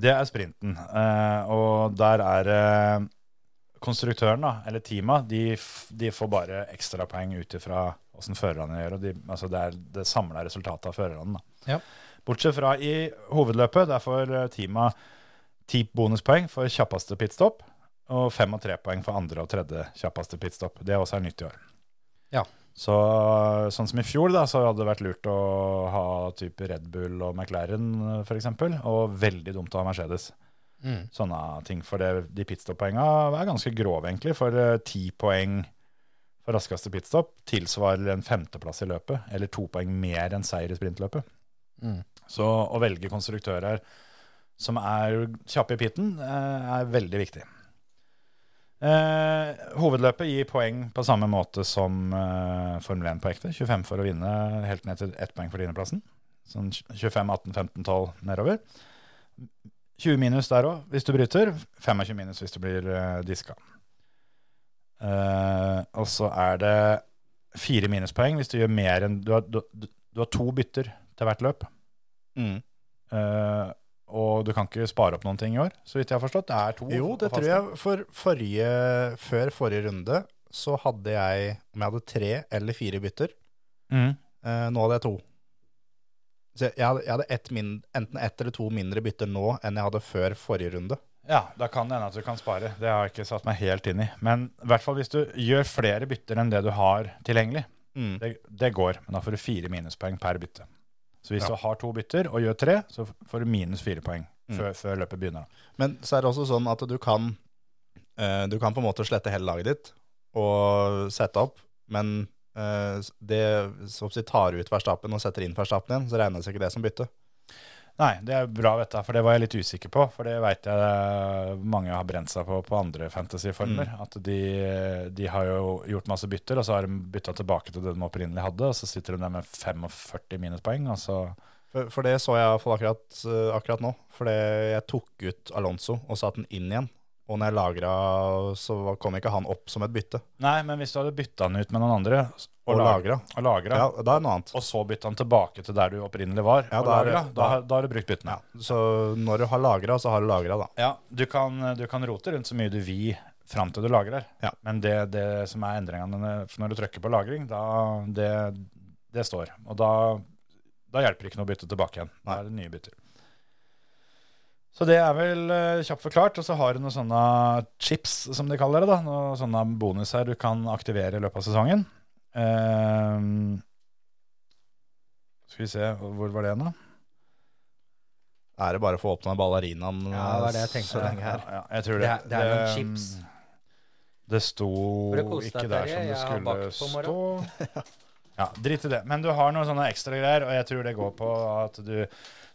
Det er sprinten. eh, og der er eh, konstruktøren, da, eller teamet, de, f- de får bare ekstrapoeng ut ifra åssen førerne gjør. Og de, altså det er det samla resultatet av førerne. Da. Ja. Bortsett fra i hovedløpet, der får eh, teamet ti bonuspoeng for kjappeste pitstop. Og fem og tre poeng for andre og tredje kjappeste pitstop. Det også er nytt i år. Ja. Så, sånn som i fjor, da, så hadde det vært lurt å ha type Red Bull og McLaren f.eks. Og veldig dumt å ha Mercedes. Mhm. Sånne ting. For det, de pitstop-poenga er ganske grove, egentlig. For eh, ti poeng for raskeste pitstop tilsvarer en femteplass i løpet. Eller to poeng mer enn seier i sprintløpet. Mm. Så å velge konstruktører som er kjappe i pitten, eh, er veldig viktig. Eh, hovedløpet gir poeng på samme måte som eh, Formel 1 på ekte. 25 for å vinne, helt ned til ett poeng for tiendeplassen. Sånn 25, 18, 15, 12 nedover. 20 minus der òg, hvis du bryter. 25 minus hvis du blir eh, diska. Eh, og så er det fire minuspoeng hvis du gjør mer enn Du har, du, du du har to bytter til hvert løp. Mm. Eh, og du kan ikke spare opp noen ting i år, så vidt jeg har forstått. Det er to. Jo, det å tror faste. jeg. For forrige, før forrige runde så hadde jeg Om jeg hadde tre eller fire bytter, Mm. eh, nå hadde jeg to. Så jeg hadde, jeg hadde ett min, enten ett eller to mindre bytter nå enn jeg hadde før forrige runde. Ja, da kan det hende at du kan spare. Det har jeg ikke satt meg helt inn i. Men i hvert fall hvis du gjør flere bytter enn det du har tilgjengelig. Mm. Det, det går, men da får du fire minuspoeng per bytte. Så hvis Ja. du har to bytter og gjør tre, så f- får du minus fire poeng Mm. før, før løpet begynner. Men så er det også sånn at du kan eh, Du kan på en måte slette hele laget ditt og sette opp, men eh, det så å si tar du ut Verstappen og setter inn Verstappen igjen, så regnes ikke det som bytte. Nei, det er bra, vet du, for det var jeg litt usikker på. For det veit jeg eh, mange har brent seg på på andre fantasyformer. Mm. At de, de har jo gjort masse bytter, og så har de bytta tilbake til det de opprinnelig hadde. Og så sitter de der med 45 minuspoeng, og så For, for det så jeg i hvert fall akkurat, eh, akkurat nå. For det- jeg tok ut Alonso og satte den inn igjen. Og når jeg lagra, så kom ikke han opp som et bytte. Nei, men hvis du hadde bytta den ut med noen andre Og lag- lagra. og, lagra, Ja, da er det noe annet. og så bytta den tilbake til der du opprinnelig var, Ja, og da er det- lagra, da, da- da har du brukt byttene. Ja, så når du har lagra, så har du lagra, da. Ja, du kan, du kan rote rundt så mye du vil fram til du lagrer, Ja. men det, det som er endringene når du trykker på lagring, da, det, det står. Og da, da hjelper det ikke noe å bytte tilbake igjen. Da Nei. er det nye bytter. Så det er vel eh, kjapt forklart. Og så har du noen sånne chips, som de kaller det. da, Noen sånne bonuser du kan aktivere i løpet av sesongen. Ehm, skal vi se, hvor var det nå? Da er det bare å få åpna ballerinaen Ja, det var det jeg tenkte. så lenge her. Ja, ja, jeg tror det. um, Det er- det er noen chips. Det sto Får du kose deg, ikke der Terje? som det Jeg har skulle bakt på stå. Ja, drit i det. Men du har noen sånne ekstra greier, og jeg tror det går på at du,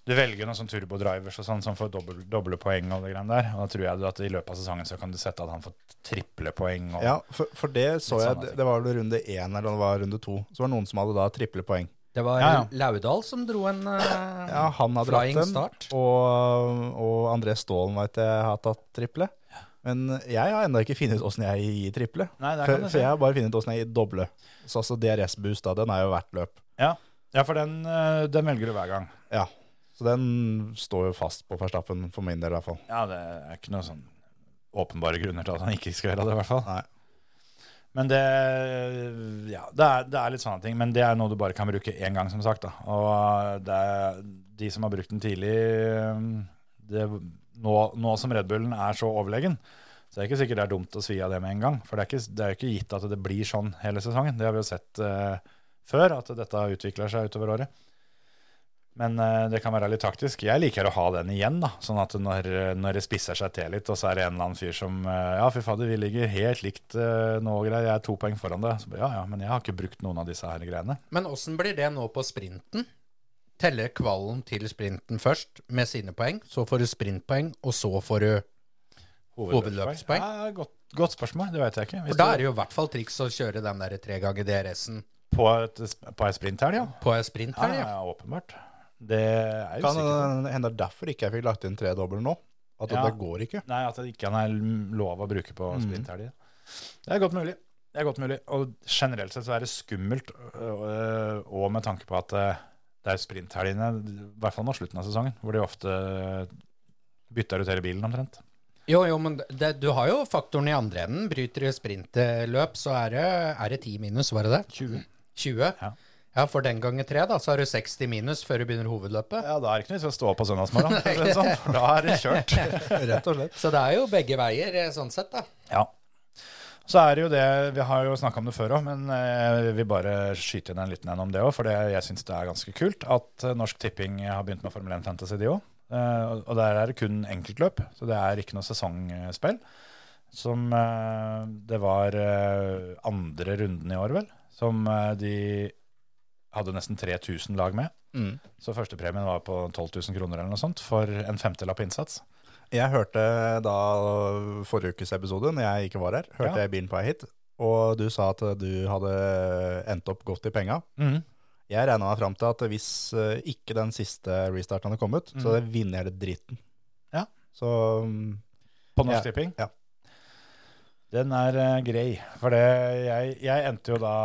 du velger noen sånn turbodrivers og sånn som får dobbel- doble poeng og det greiene der. Og da tror jeg du at i løpet av sesongen så kan du sette at han får triple poeng. Og, Ja, for, for det så Litt jeg sånn, det, det var vel runde én eller det var runde to. Så var det noen som hadde da triple poeng. Det var Ja, ja. Laudal som dro en eh, Ja, han hadde lagt flying den, start. og, og André Stålen veit jeg har tatt triple. Men jeg har ennå ikke funnet ut åssen jeg gir triple. Nei, der kan For, du for se. jeg har bare funnet åssen jeg gir doble. Så altså DRS-boost, da, den er jo hvert løp. Ja. ja, for den, eh, den velger du hver gang. Ja. Så den står jo fast på Verstappen, for min del i hvert fall. Ja, det er ikke noen sånn åpenbare grunner til at han ikke skal gjøre det, i hvert fall. Nei. Men det, ja, det, er, det er litt sånne ting, men det er noe du bare kan bruke én gang, som sagt. Da. Og det er, de som har brukt den tidlig det, nå, nå som Red Bullen er så overlegen, så det er ikke sikkert det er dumt å svi av det med en gang. For det er ikke, det er ikke gitt at det blir sånn hele sesongen. Det har vi jo sett eh, før, at dette utvikler seg utover året. Men eh, det kan være litt taktisk. Jeg liker å ha den igjen, da. Sånn at når, når det spisser seg til litt, og så er det en eller annen fyr som eh, Ja, fy fader, vi ligger helt likt eh, nå og greier. Jeg er to poeng foran deg. Så bare, ja, ja, men jeg har ikke brukt noen av disse her greiene. Men åssen blir det nå på sprinten? Teller kvalen til sprinten først med sine poeng, så får du sprintpoeng, og så får du Hovedløpspoeng? Ja, godt, godt spørsmål. Det vet jeg ikke. Hvis For da er det jo i hvert fall triks å kjøre den der tre ganger DRS-en du på, et, på ei sprinthelg, ja. på en sprint Ja, her, ja, ja. ja, åpenbart. Det er jo Kan sikkert det hende derfor ikke jeg fikk lagt inn tre dobbel nå? At Ja. det går ikke? Nei, at det ikke er lov å bruke på Mm. sprinthelger. Det er godt mulig. Det er godt mulig. Og generelt sett så er det skummelt, øh, og med tanke på at øh, det er sprinthelgene, i hvert fall nå slutten av sesongen, hvor de ofte bytter ut hele bilen omtrent. Jo, jo, men det, du har jo faktoren i andre enden. Bryter du sprintløp, så er det, er det 10 minus, var det det? 20. 20? Ja. Ja, for den gangen 3, da, så har du 60 minus før du begynner hovedløpet. Ja, da er det ikke noe vits i å stå opp på søndagsmorgenen, for å si det sånn, for da er det kjørt. Rett og slett. Så det er jo begge veier, eh, sånn sett, da. Ja. Så er det jo det, Vi har jo snakka om det før òg, men eh, jeg vil bare skyte inn en liten en om det òg. For det, jeg syns det er ganske kult at eh, Norsk Tipping har begynt med Formel 1 Fantasy, de òg. Eh, og der er det kun enkeltløp, så det er ikke noe sesongspill. Som eh, det var eh, andre runden i år, vel, som eh, de hadde nesten 3000 lag med. Så førstepremien var på 12 000 kroner eller noe sånt for en femtelapp innsats. Jeg hørte da forrige ukes episode, når jeg ikke var her, hørte Ja. jeg bilen på vei hit, og du sa at du hadde endt opp godt i penga. Jeg regna meg fram til at hvis eh, ikke den siste restarten hadde kommet, så hadde jeg vunnet hele dritten. Ja. Så mm, På Norsk Ja, Tipping? ja. Den er eh, grei. For det, jeg, jeg endte jo da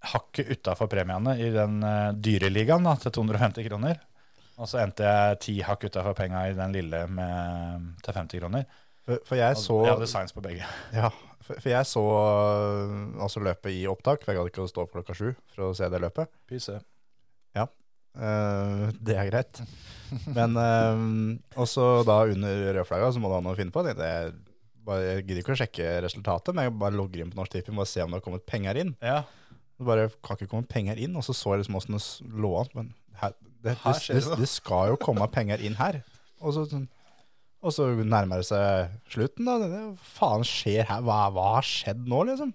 hakket utafor premiene i den eh, dyreligaen da, til 250 kroner. Og så endte jeg ti hakk utafor penga i den lille med, til 50 kroner. for, for jeg Og så jeg hadde signs på begge. Ja, for, for jeg så øh, altså løpet i opptak, for jeg gadd ikke å stå opp klokka sju for å se det løpet. Pyse. Eh, det er greit. Men eh, også da under rødflagga så må du ha noe å finne på. Jeg, tenkte, jeg, bare, jeg gidder ikke å sjekke resultatet, men jeg bare logger inn på Norsk Tipping og se om det har kommet penger inn. Ja. Det bare kan ikke komme penger inn, og så så jeg liksom åssen det s- lå an. Men her, det, Her det, skjer det, det noe. det skal jo komme penger inn her. Og så, sånn- og så nærmer det seg slutten, da. Det, det, faen skjer her? Hva, hva har skjedd nå, liksom?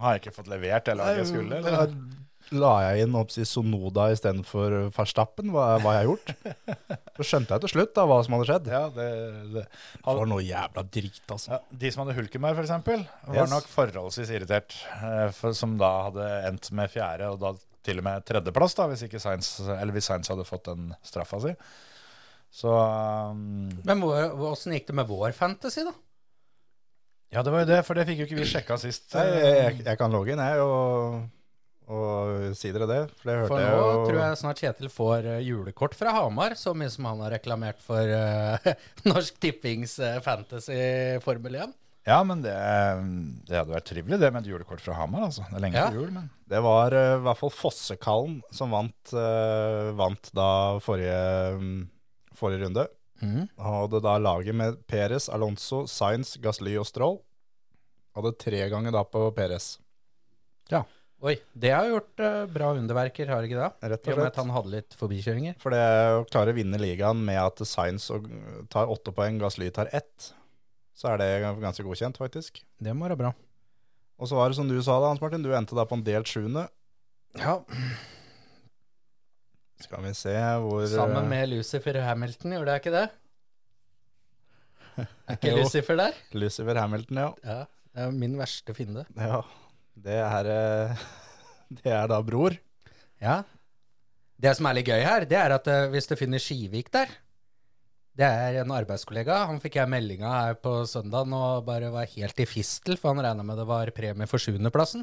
Har jeg ikke fått levert det laget jeg skulle? Eller? Da la jeg inn oppsi Sonoda istedenfor eh, Verstappen, hva, hva jeg har gjort. Så skjønte jeg til slutt da hva som hadde skjedd. Ja, det, det. Det var noe jævla drit, altså. Ja, de som hadde Hulkenberg, for eksempel, var Yes. nok forholdsvis irritert. eh, For, som da hadde endt med fjerde, og da til og med tredjeplass, da, hvis ikke Sainz, eller hvis Sainz hadde fått den straffa si. Så um, Men hvor- åssen gikk det med vår fantasy, da? Ja, det var jo det, for det fikk jo ikke vi sjekka sist. Nei, Jeg, jeg, jeg kan logge inn, jeg, og, og si dere det. For det For hørte jeg nå jo. tror jeg snart Kjetil får eh, julekort fra Hamar, så mye som han har reklamert for eh, Norsk Tippings eh, fantasy Formel 1. Ja, men det, eh, det hadde vært trivelig, det med et julekort fra Hamar, altså. Det er lenge Ja. til jul, men Det var eh, i hvert fall Fossekallen som vant, eh, vant da forrige, mm, forrige runde. Mhm. Han hadde da laget med Perez, Alonso, Sainz, Gasly og Stroll. Hadde tre ganger da på Perez. Oi, det har gjort eh, bra underverker, har det ikke det? Rett og I og med at slett. han hadde litt forbikjøringer. For det å klare å vinne ligaen med at Sainz og- tar åtte poeng, Gasly tar ett, så er det ganske godkjent, faktisk. Det må være bra. Og så var det som du sa da, Hans Martin, du endte da på en delt sjuende. Ja, Skal vi se hvor Sammen med Lucifer Hamilton, gjorde jeg ikke det? Er ikke Jo. Lucifer der? eh, Lucifer Hamilton, ja. Ja, det er min verste fiende. ja. Det er eh, Det er da bror. Ja. Det som er litt gøy her, det er at eh, hvis du finner Skivik der Det er en arbeidskollega. Han fikk jeg meldinga her på søndagen og bare var helt i fistel, for han regna med det var premie for sjuendeplassen.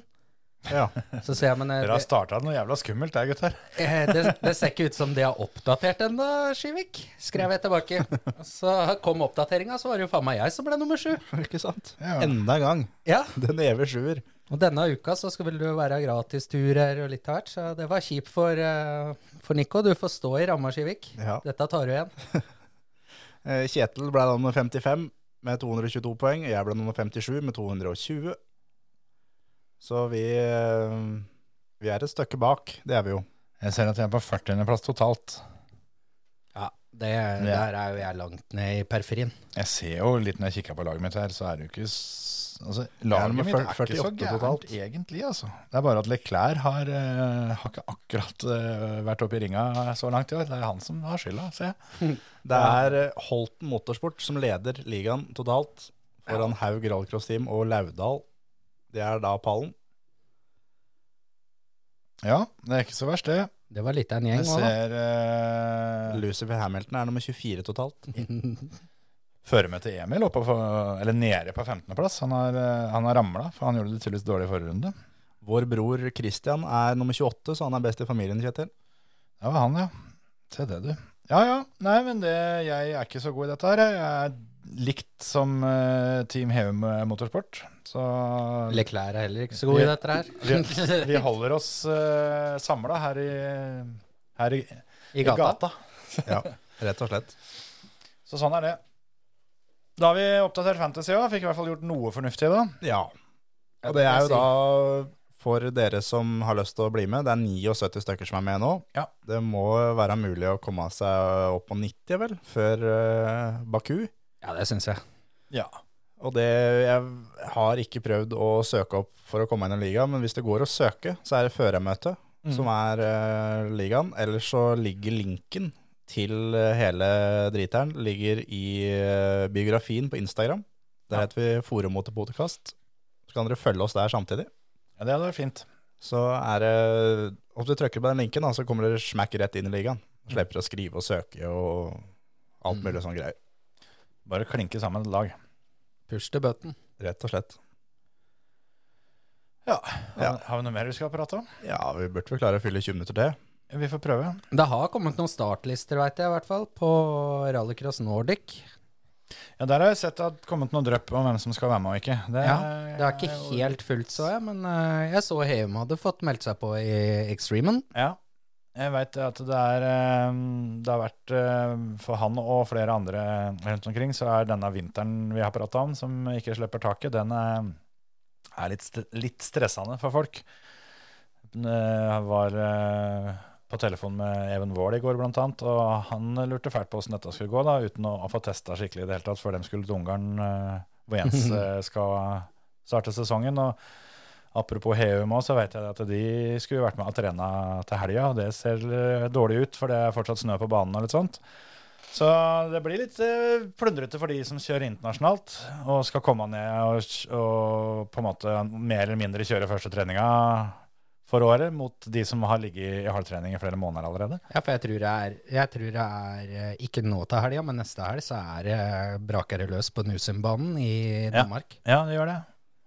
Ja. Så ser jeg, men eh, dere har det, starta noe jævla skummelt der, gutter. eh, det, det ser ikke ut som de har oppdatert ennå, Skivik, skrev jeg tilbake. Så kom oppdateringa, så var det jo faen meg jeg som ble nummer sju. Ikke sant? Ja. Enda en gang. Ja. Den evige sjuer. Og denne uka så skal vel du være gratisturer og litt av hvert, så det var kjipt for, eh, for Nico. Du får stå i ramma, Skivik. Ja. Dette tar du igjen. Eh, Kjetil ble da nummer 55 med 222 poeng. Jeg ble nummer 57 med 220. Så vi, eh, vi er et stykke bak, det er vi jo. Jeg ser at jeg er på 40.-plass totalt. Ja, det, Der er jo jeg langt ned i periferien. Jeg ser jo litt når jeg kikker på laget mitt her, så er det jo ikke s- altså, Laget Jeg er på mitt er ikke 48 så gærent, totalt. egentlig. Altså. Det er bare at Leclerc har, eh, har ikke akkurat eh, vært oppe i ringa så langt i år. Det er han som har skylda, ser jeg. Det er eh, Holten Motorsport som leder ligaen totalt foran Haug Rallcross Team og Laudal. Det er da pallen. Ja, det er ikke så verst, det. Det var litt av en gjeng Jeg òg, da. ser uh, Lucifer Hamilton er nummer 24 totalt. fører med til Emil oppe på, eller nede på 15.-plass. Han har, eh, han har ramla, for han gjorde det tydeligvis dårlig i forrige runde. Vår bror Christian er nummer 28, så han er best i familien, Kjetil. Det var han, ja. Se det, du. Ja ja. Nei, men det, jeg er ikke så god i dette her. jeg. Jeg er likt som eh, Team Hevum Motorsport. Så Leclerc er heller ikke så god i dette her. vi holder oss uh, samla her i, her i, I gata. Ja, rett og slett. Så sånn er det. Da har vi oppdatert Fantasy òg. Fikk i hvert fall gjort noe fornuftig da. Ja. Og det er jo da for dere som har lyst til å bli med. Det er 79 stykker som er med nå. Ja. Det må være mulig å komme seg opp på 90, vel, før eh, Baku. Ja, det syns jeg. Ja. Og det, jeg har ikke prøvd å søke opp for å komme inn i ligaen, men hvis det går å søke, så er det førermøte Mm. som er eh, ligaen. Ellers så ligger linken til eh, hele driteren ligger i eh, biografien på Instagram. Der heter vi Forum mot podkast. Så kan dere følge oss der samtidig. ja det hadde vært fint. Så er det Om du trykker på den linken, da, så kommer dere smakk rett inn i ligaen. Slipper å skrive og søke og Mm. alt mulig sånn greier. Bare klinke sammen et lag. Push til button. Rett og slett. Ja. Ja. Har vi noe mer vi skal prate om? Ja, vi burde vel klare å fylle 20 minutter til. Vi får prøve. Det har kommet noen startlister, veit jeg i hvert fall, på Rallycross Nordic. Ja, Der har jeg sett at det har kommet noen drypp om hvem som skal være med og ikke. Det, Ja, Det er Eh, ikke helt fullt, så jeg, men eh, jeg så Heum hadde fått meldt seg på i Extremen. Ja. Jeg veit at det er eh, Det har vært eh, for han og flere andre rundt omkring, så er denne vinteren vi har prata om, som ikke slipper taket, den er, er litt, st- litt stressende for folk. Jeg var eh, på telefon med Even Wold i går, blant annet, og han lurte fælt på åssen dette skulle gå, da, uten å få testa skikkelig i det hele tatt, før de skulle til Ungarn, eh, hvor Jens eh, skal starte sesongen. og Apropos Heum òg, så vet jeg at de skulle vært med og trena til helga. og Det ser eh, dårlig ut, for det er fortsatt snø på banen og litt sånt. Så det blir litt eh, plundrete for de som kjører internasjonalt og skal komme ned og, og på en måte mer eller mindre kjøre første treninga for året mot de som har ligget i hardtrening i flere måneder allerede. Ja, for jeg tror det er, jeg tror det er eh, ikke nå til helga, men neste helg så er det eh, braker det løs på Nusumbanen i Ja. Danmark. Ja, det gjør det.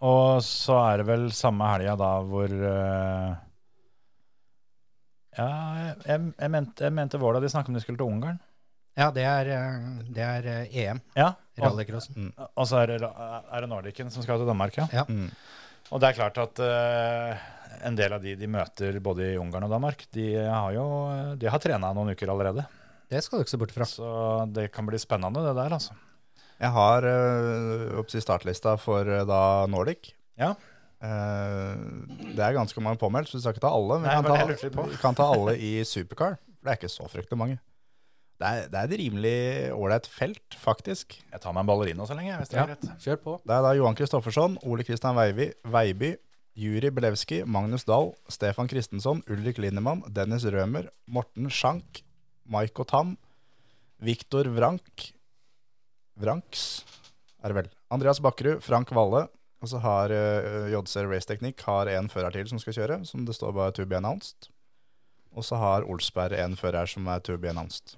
Og så er det vel samme helga da hvor eh, Ja, jeg, jeg mente, jeg mente Våla de snakket om de skulle til Ungarn. Ja, det er, eh, det er eh, EM, Ja, og, rallycrossen. og så er det, er det Nordicen som skal til Danmark, ja. Ja. Mm. Og det er klart at eh, en del av de de møter både i Ungarn og Danmark, de eh, har jo de har trena noen uker allerede. Det skal du ikke se bort fra. Så det kan bli spennende, det der, altså. Jeg har øh, oppsi startlista for øh, da Nordic. Ja. Eh, det er ganske mange påmeldt, så vi skal ikke ta alle. Men Nei, vi men kan jeg lurte litt ta, på. vi kan ta alle i Supercar. For det er ikke så fryktelig mange. Det er, det er et rimelig ålreit felt, faktisk. Jeg tar meg en ballerina så lenge, jeg, hvis det Ja, er greit. kjør på. Det er da Johan Kristoffersson, Ole Kristian Veiby, Veiby Juri Belewski, Magnus Dahl, Stefan Kristensson, Ulrik Lindemann, Dennis Rømer, Morten Schank, Maiko Tam, Viktor Vrank Vranks, er det vel. Andreas Bakkerud, Frank Valle. Og så har uh, JC Race Teknikk har en fører til som skal kjøre, som det står bare 'to be announced'. Og så har Olsberg en fører som er 'to be announced'.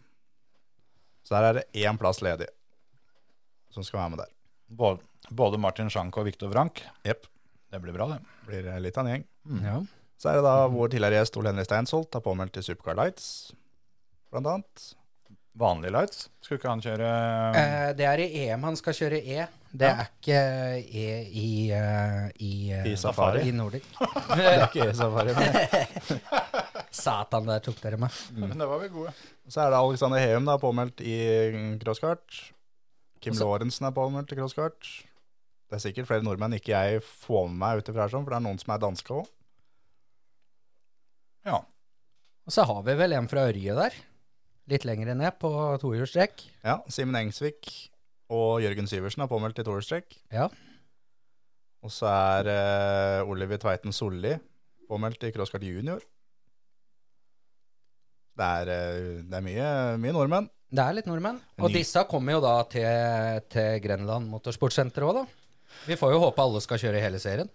Så der er det én plass ledig som skal være med der. Både, både Martin Schank og Viktor Wrank. Jepp. Det blir bra, det. Mm. Blir eh, litt av en gjeng. Ja. Så er det da vår tidligere gjest Ole Henri Steinsholt er påmeldt til Supercar Lights, blant annet. Vanlige lights. Skulle ikke han kjøre Eh, det er i EM han skal kjøre E. Det er ikke E i, eh, i, eh, I safari. I Nordic. Det er ikke safari, men. Satan, der tok dere meg. Men det var vel gode. Så er det Alexander Heum da, påmeldt i crosskart. Kim Altså- Og så- Lorentzen er påmeldt i crosskart. Det er sikkert flere nordmenn ikke jeg får med meg ut ifra her, sånn, for det er noen som er danske òg. Ja. Og så har vi vel en fra Ørje der. Litt lenger ned på tohjulstrekk. Ja, Simen Engsvik og Jørgen Syversen er påmeldt i toerstrekk. Ja. Og så er eh, Oliver Tveiten Solli påmeldt i crosskart junior. Det er, eh, det er mye, mye nordmenn. Det er litt nordmenn. Og Ny- disse kommer jo da til, til Grenland Motorsportsenter òg, da. Vi får jo håpe alle skal kjøre hele serien.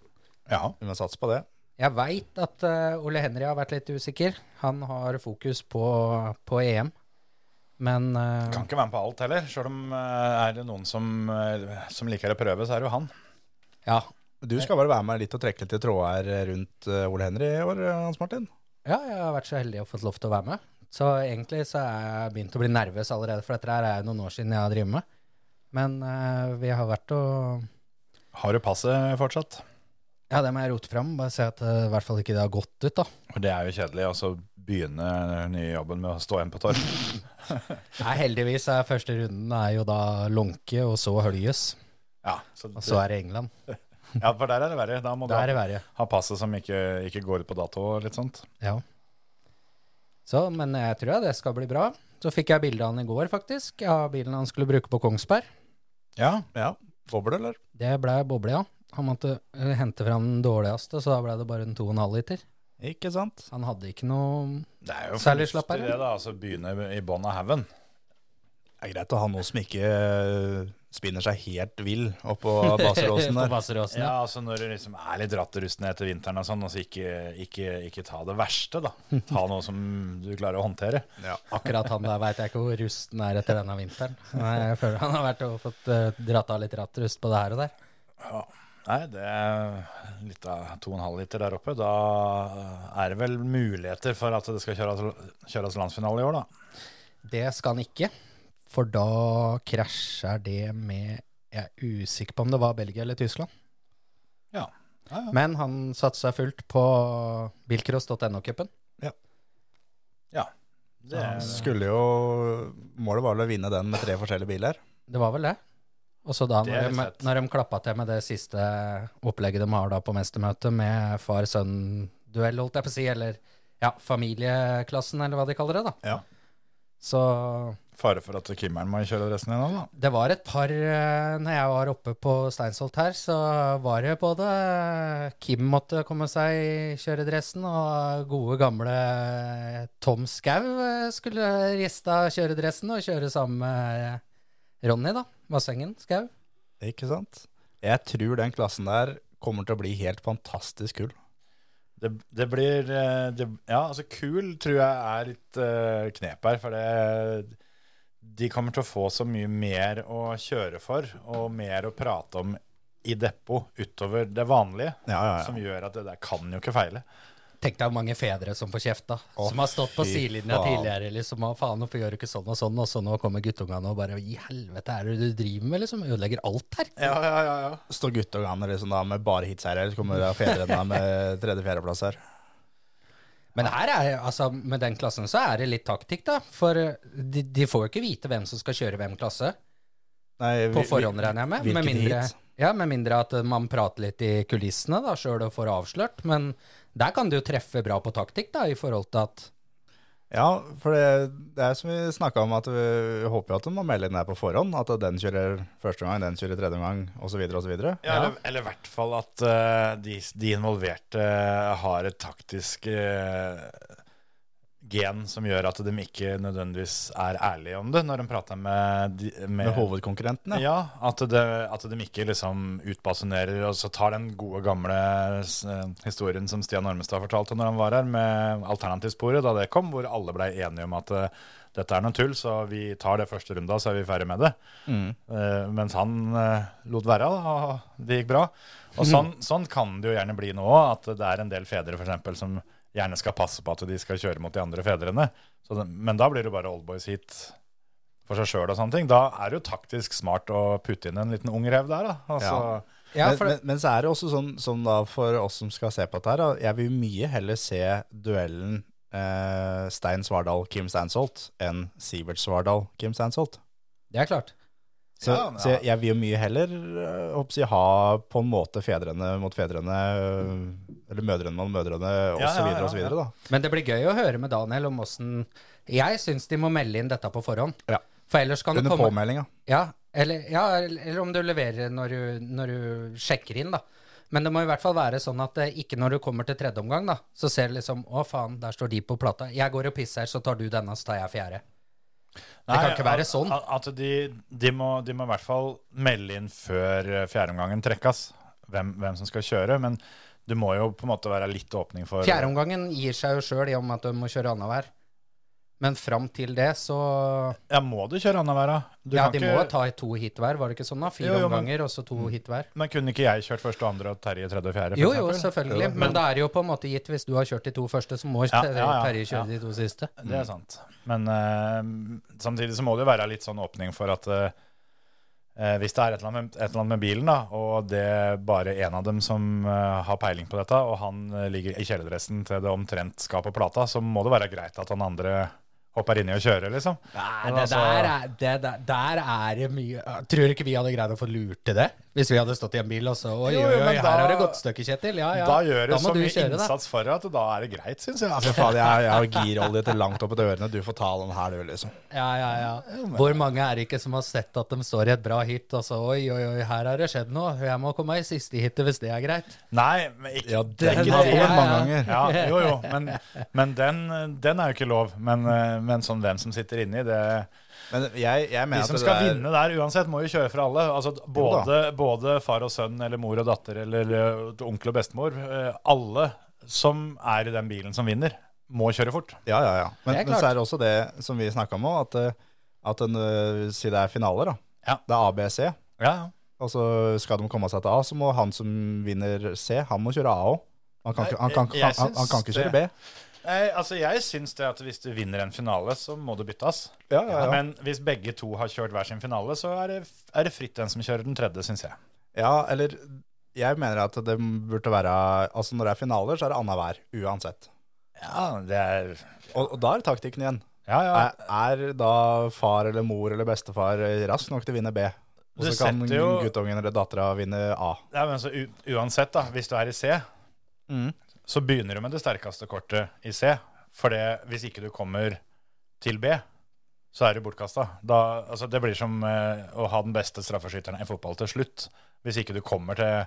Ja. Vi må satse på det. Jeg veit at eh, Ole Henry har vært litt usikker. Han har fokus på, på EM. Men eh, Kan ikke være med på alt heller. Sjøl om eh, er det noen som, eh, som liker å prøve, så er det jo han. ja. Du skal bare være med litt og trekke litt i tråder rundt eh, Ole Henry i år, eh, Hans Martin. ja, jeg har vært så heldig og fått lov til å være med. Så egentlig så er jeg begynt å bli nervøs allerede, for dette her er jo noen år siden jeg har drevet med. Men eh, vi har vært og Har du passet fortsatt? Ja, det må jeg rote fram. Bare se at det i hvert fall ikke det har gått ut, da. Og det er jo kjedelig. Og så begynne den nye jobben med å stå igjen på torg. Nei, heldigvis er første runden er jo da Lånke, og så Høljes. Ja, så Og så er det England. ja, for der er det verre. Da må du Da er ha, det verre. ha passet som ikke, ikke går ut på dato og litt sånt. Ja. Så, men jeg tror det skal bli bra. Så fikk jeg bildet av han i går, faktisk. Av bilen han skulle bruke på Kongsberg. Ja, Ja. Boble, eller? Det ble boble, ja. Han måtte eh, hente fram den dårligste, så da ble det bare en 2,5 liter. Ikke sant? Så han hadde ikke noe det er jo fornuftig Særlig slappere. det, da. Altså begynne i bånn av haugen. Det er greit å ha noe som ikke eh, spinner seg helt vill oppå baseråsen på der. Basseråsen. Ja. Ja, altså når det liksom er litt ratterustne etter vinteren og sånn, altså ikke, ikke, ikke ta det verste, da. Ta noe som du klarer å håndtere. Ja. Akkurat han der veit jeg ikke hvor rusten er etter denne vinteren. Nei, jeg føler han har vært og fått eh, dratt av litt rattrust på det her og der. Nei, det er litt av 2,5 liter der oppe. Da er det vel muligheter for at det skal kjøres, kjøres landsfinale i år, da. Det skal han ikke, for da krasjer det med Jeg er usikker på om det var Belgia eller Tyskland. Ja. Ja, ja. Men han satsa fullt på bilcross.no-cupen. Det, Skulle jo Målet var vel å vinne den med tre forskjellige biler. Det var vel det. Og så da, Det er når de, fett. når de klappa til med det siste opplegget de har da på mestermøtet, med far-sønn-duell, holdt jeg på å si, eller ja, familieklassen, eller hva de kaller det, da. Ja. Så Fare for at Kimmeren må kjøre resten igjen, da. det var et par eh, Når jeg var oppe på Steinsholt her, så var det både Kim måtte komme seg i kjøredressen, og gode gamle Tom Skau eh, skulle riste av kjøredressen og kjøre sammen med Ronny, da. Vassengen Skau. Ikke sant? Jeg tror den klassen der kommer til å bli helt fantastisk kul. Det, det blir eh, det, Ja, altså kul tror jeg er litt eh, knep her, for det De kommer til å få så mye mer å kjøre for, og mer å prate om i depot utover det vanlige, Ja, ja, ja. som gjør at det der kan jo ikke feile. Tenk deg hvor mange fedre som får kjeft, da. Å, som har stått på fy sidelinja faen. tidligere. liksom, «Å, faen, hvorfor gjør du ikke sånn og sånn? Og så nå kommer guttungene og bare I helvete, er det du driver med? liksom, Ødelegger alt her. Ja, ja, ja, ja. Står guttungene liksom da med bare hits her, eller så kommer da fedrene da med tredje-fjerdeplass her? Men her er, altså, med den klassen så er det litt taktikk, da. For eh, de, de får jo ikke vite hvem som skal kjøre hvem klasse. Nei, vi- På vi- forhånd, regner jeg med. hvilken Med mindre, hit? ja, med mindre at eh, man prater litt i kulissene da, sjøl og får avslørt. Men der kan du jo treffe bra på taktikk, da, i forhold til at Ja, for det, det er som vi snakka om, at vi, vi håper jo at de må melde inn her på forhånd. At den kjører første gang, den kjører tredje gang, osv. osv. Ja, eller, eller i hvert fall at eh, de, de involverte eh, har et taktisk eh, gen som gjør at de ikke nødvendigvis er ærlige om det når de prater med, de, med, Med hovedkonkurrentene. Ja, at, det, at de ikke liksom utbasunerer og så tar den gode gamle s- eh, historien som Stian Ormestad fortalte når han var her, med alternativsporet da det kom, hvor alle ble enige om at eh, dette er noe tull, så vi tar det første runda, så er vi ferdig med det. Mm. Eh, mens han eh, lot være, da, og det gikk bra. Og sånn, sånn kan det jo gjerne bli nå òg, at det er en del fedre for eksempel, som gjerne skal passe på at de skal kjøre mot de andre fedrene. Så det, men da blir det bare oldboys hit for seg sjøl og sånne ting. Da er det jo taktisk smart å putte inn en liten ung rev der, da. Altså, Ja. Ja, men, for det, men, men så er det også sånn, sånn da for oss som skal se på dette her, da, jeg vil mye heller se duellen eh, Stein Svardal-Kim Stansholt enn Sivert Svardal-Kim Stansholt. det er klart. Så, Ja, men så ja. jeg, jeg vil jo mye heller øh, håper jeg, ha på en måte fedrene mot fedrene, øh, eller mødrene mot mødrene, Ja, ja, osv. ja, osv. ja. da. Men det blir gøy å høre med Daniel om åssen Jeg syns de må melde inn dette på forhånd. Ja. For ellers kan det Under komme påmeldinga. ja, eller, ja, eller om du leverer når du, når du sjekker inn, da. Men det må i hvert fall være sånn at eh, ikke når du kommer til tredje omgang, da, så ser du liksom Å, faen, der står de på plata. Jeg går og pisser, så tar du denne, så tar jeg fjerde. Det kan ikke være sånn. At, at de, de, må, de må i hvert fall melde inn før eh, fjerdeomgangen trekkes, hvem, hvem som skal kjøre. Men det må jo på en måte være litt åpning for Fjerdeomgangen gir seg jo sjøl i og med at du må kjøre annenhver. Men fram til det, så Ja, må du kjøre annenhver, da? Du Ja, kan de ikke- må jo ta i to hit hver, var det ikke sånn, da? Fire Jo, jo, men- omganger, og så to hit hver. Men kunne ikke jeg kjørt første og andre og Terje tredje og fjerde? for Jo, jo, eksempel? selvfølgelig. Jo, Men det er jo på en måte gitt hvis du har kjørt de to første, så må Ja, ja, ja, Terje ja. kjøre de to siste. Det Mm. er sant. Men eh, samtidig så må det jo være litt sånn åpning for at eh, eh, hvis det er et eller, annet med, et eller annet med bilen, da, og det er bare én av dem som eh, har peiling på dette, og han eh, ligger i kjeledressen til det omtrent skal på plata, så må det være greit at han andre hopper inni og kjører, liksom. Nei, Men det altså- der er, det der, der er det mye Jeg Tror ikke vi hadde greid å få lurt til det? Hvis vi hadde stått i en bil og så Oi, Jo, oi, jo, oi, men her da- har det gått støkket, Kjetil. Ja, ja. Da gjør du så må du mye kjøre, da. innsats for at da er det greit, syns jeg. Ja, fy faen, jeg, jeg har girolje til langt opp etter ørene. Du får ta den her, du, liksom. Ja, ja, ja. Hvor mange er det ikke som har sett at de står i et bra hit og så Oi, oi, oi, her har det skjedd noe. Jeg må komme i siste hitet hvis det er greit. Nei, men ikke Ja, den ikke har kommet det. Ja, mange ja. ganger. Ja, jo, jo, men, men den, den er jo ikke lov. Men, eh, men sånn hvem som sitter inni, det Men jeg, jeg De mener som at skal det der, vinne der uansett, må jo kjøre for alle. Altså, både, både far og sønn, eller mor og datter, eller eh, onkel og bestemor. eh, Alle som er i den bilen som vinner, må kjøre fort. Ja, ja, ja. Men, Det er men så klart. er det også det som vi snakka om òg, at, eh, at en, eh, si det er finaler, da. Ja. Det er ABC. Ja, Altså, skal de komme seg til A, så må han som vinner C, han må kjøre A òg. Han, kan ikke- han, kan- Nei, jeg- jeg han, han kan syns ikke kjøre B. Nei, altså, jeg syns det at hvis du vinner en finale, så må det byttes. Ja, ja, ja. Men hvis begge to har kjørt hver sin finale, så er det, er det fritt den som kjører den tredje, syns jeg. ja, eller jeg mener at det burde være Altså, når det er finaler, så er det annenhver, uansett. Ja, det er Og, og da er taktikken igjen. Ja, ja. Er, er da far eller mor eller bestefar rask nok til å vinne B? Og Du så kan setter jo- guttungen eller dattera vinne A. Nei, men så u uansett, da, hvis du er i C, Mm. så begynner du med det sterkeste kortet i C. For det, hvis ikke du kommer til B, så er du bortkasta. Da, altså, det blir som eh, å ha den beste straffeskytteren i fotball til slutt. Hvis ikke du kommer til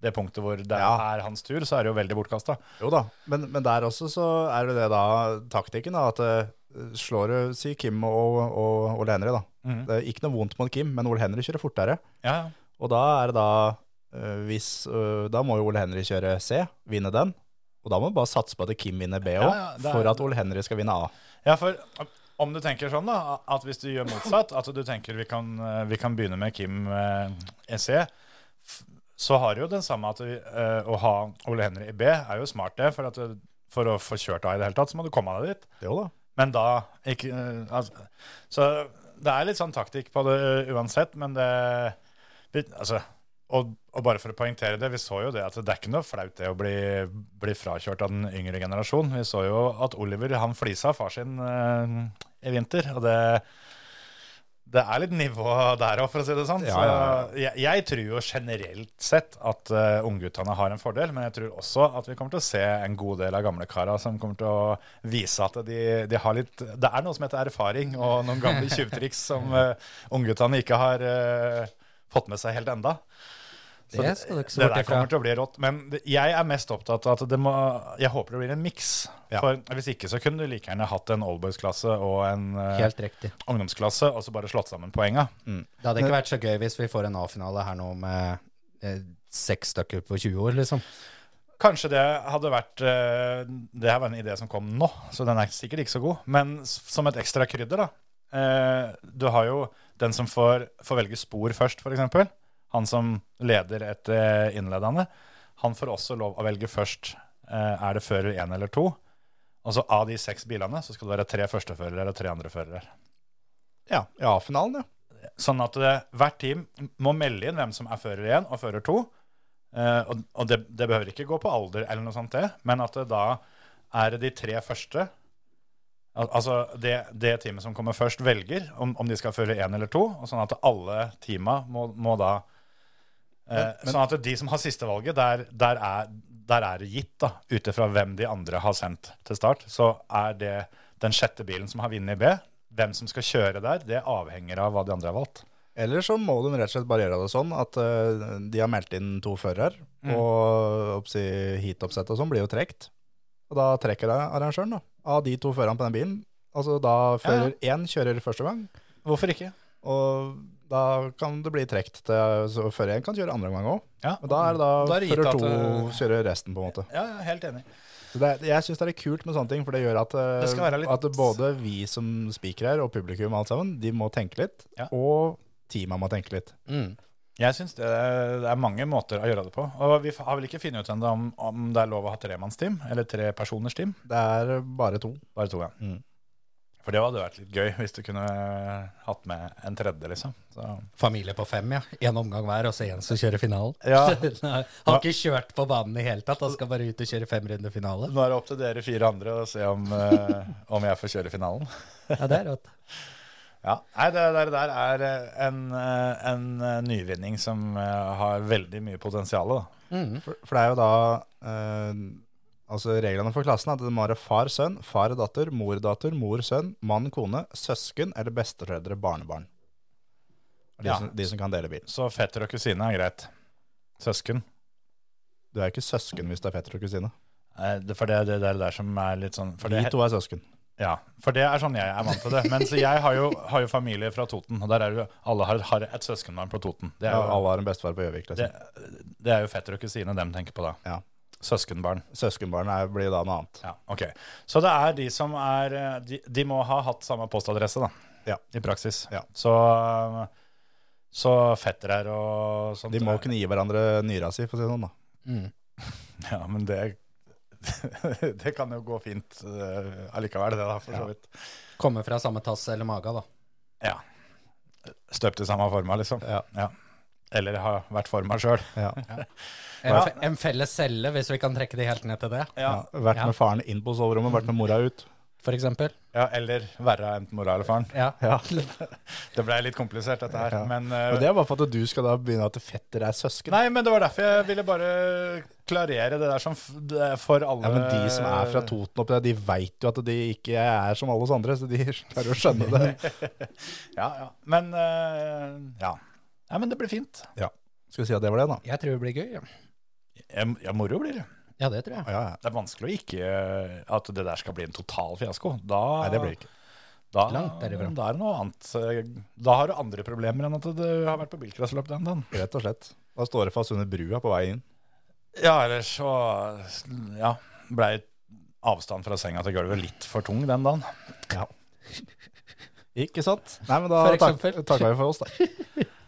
det punktet hvor det Ja. er hans tur, så er du jo veldig bortkasta. Jo da, men, men der også så er det det da taktikken da, at eh, slår du, si Kim og, og Ole Henry da. Mhm. Det er ikke noe vondt mot Kim, men Ole Henry kjører fortere. Ja, Og da er det da, eh, hvis, eh, da må jo Ole Henry kjøre C, vinne den. Og da må man bare satse på at Kim vinner B også, ja, det er- for at Ole Henry skal vinne A. ja, for om du tenker sånn, da, at hvis du gjør motsatt, at du tenker vi kan, eh, vi kan begynne med Kim eh, i C, f- så har du jo den samme at vi, eh, å ha Ole Henry i B er jo smart, det. For, at, du- for å få kjørt A i det hele tatt, så må du komme deg dit. Jo da. Men da ikke, eh, altså, Så det er litt sånn taktikk på det eh, uansett, men det vi- Altså, og, og bare for å poengtere det, vi så jo det at det er ikke noe flaut det å bli, bli frakjørt av den yngre generasjon. Vi så jo at Oliver han flisa far sin eh, i vinter, og det det er litt nivå der òg, for å si det sånn. Ja, ja, Så jeg, jeg tror jo generelt sett at uh, ungguttene har en fordel, men jeg tror også at vi kommer til å se en god del av gamle kara som kommer til å vise at de, de har litt Det er noe som heter erfaring, og noen gamle tjuvtriks som uh, ungguttene ikke har eh, fått med seg helt enda. Så Det skal du ikke se det bort der ifra. kommer til å bli rått. Men det- jeg er mest opptatt av at det må Jeg håper det blir en miks. Ja. For hvis ikke så kunne du like gjerne hatt en oldboys-klasse og en eh, Helt riktig. ungdomsklasse, og så bare slått sammen poenga. Det hadde ikke vært så gøy hvis vi får en A-finale her nå med eh, seks stykker på 20 år, liksom. Kanskje det hadde vært eh, Det her var en idé som kom nå, så den er sikkert ikke så god. Men s- som et ekstra krydder, da. eh, Du har jo den som får, får velge spor først, f.eks. Han som leder etter innledende. Han får også lov å velge først eh, er det fører én eller to. Og så av de seks bilene så skal det være tre førsteførere og tre andreførere. Ja, i A-finalen, ja. Sånn at eh, hvert team må melde inn hvem som er fører 1 og fører 2. Eh, og og det, det behøver ikke gå på alder, eller noe sånt det, men at det da er det de tre første Al altså det, det teamet som kommer først, velger om, om de skal føre én eller to. Og sånn at alle teama må, må da eh, Sånn at de som har sistevalget, der, der, er- der er det gitt, da, ut ifra hvem de andre har sendt til start, så er det den sjette bilen som har vunnet i B. Hvem som skal kjøre der, det avhenger av hva de andre har valgt. Eller så må de rett og slett bare gjøre det sånn at eh, de har meldt inn to førere, Mm. og oppsi, heatoppsettet og sånn blir jo trekt. Og da trekker det arrangøren da, av de to førerne på den bilen. Altså da fører én kjører første gang, Hvorfor ikke? og da kan det bli trekt til så fører én kan kjøre andre gang òg. Ja, Og da er det da, Da er det gitt fører at eh, to det- kjører resten, på en måte. ja, ja, helt enig. Så det, er- jeg syns det er litt kult med sånne ting, for det gjør at, eh, Det skal være litt- at både vi som spikere her, og publikum alt sammen, de må tenke litt. Ja. Og teamet må tenke litt. Mm. Jeg syns det, det er mange måter å gjøre det på. Og vi har vel ikke funnet ut ennå om, om det er lov å ha tremannsteam, eller trepersoners team. Det er bare to. Bare to, ja. Mm. For det hadde vært litt gøy hvis du kunne hatt med en tredje, liksom. Så. Familie på fem, ja. Én omgang hver, og så én som kjører finalen. Ja. Nei, har ikke kjørt på banen i hele tatt. Han skal bare ut og kjøre fem runder finale. Nå er det opp til dere fire andre å se om, eh, om jeg får kjøre finalen. Ja, det er rått. Ja. Nei, det der, der er eh, en, eh, en eh, nyvinning som eh, har veldig mye potensial. Da. For, for det er jo da eh, Altså reglene for klassen er at det må være far, sønn, far, datter, mor, datter, mor, sønn, mann, kone, søsken eller besteforeldre, barnebarn. Og De, Ja. som, de som kan dele bil. Så fetter og kusine er greit. Søsken. Du er ikke søsken hvis du er fetter og kusine. Eh, det- For det er det der, der som er litt sånn for De det, to er søsken. Ja, for det er sånn jeg er vant til det. Men så jeg har jo, har jo familie fra Toten, og der er jo alle har, har et søskenbarn på Toten. Det er Ja, jo, alle har en bestefar på Gjøvik. det, Liksom. det er jo fetter og kusine dem tenker på da. Ja. Søskenbarn. Søskenbarn er, blir da noe annet. Ja, ok. Så det er de som er eh, De, de må ha hatt samme postadresse, da. Ja. I praksis. Ja. Så, eh, så fetter her og sånt. eh. Mm. De må er- kunne gi hverandre nyra si, for å si det sånn. da. Ja, men det Det kan jo gå fint eh, allikevel, det, da, for så vidt. Komme fra samme tass eller maga, da. Ja. Støpt i samme forma, liksom. Ja. Eller har vært forma sjøl. Ja. En, Ja. fe- en felles celle, hvis vi kan trekke det helt ned til det, Ja. Vært med faren inn på soverommet, vært med mora ut. for eksempel. Ja, eller verre enn mora eller faren. Ja. Det blei litt komplisert, dette her. Ja. Men, Men eh, det er bare for at du skal da begynne at fetter er søsken. Nei, men det var derfor jeg ville bare klarere det der som f det er for alle Ja, men de som er fra Toten oppi der, de veit jo at de ikke er som alle oss andre, så de klarer å skjønne det. Ja, ja. Men eh, ja. Nei, men det blir fint. Skal vi si at det var det, da? Jeg tror det blir gøy. Ja, Ja, m- Ja, moro blir det. ja det tror jeg. Ja, ja. Det er vanskelig å ikke eh, At det der skal bli en total fiasko. Da, Nei, det blir det ikke. Da, Langt derifra. Da er det noe annet. eh, Da har du andre problemer enn at du har vært på bilcrossløp den dagen. Rett og slett. Da står det fast under brua på vei inn. Ja, ellers så ja, blei avstand fra senga til gulvet litt for tung den dagen. Ikke sant? Nei, men da For tak eksempel. takker vi for oss, da.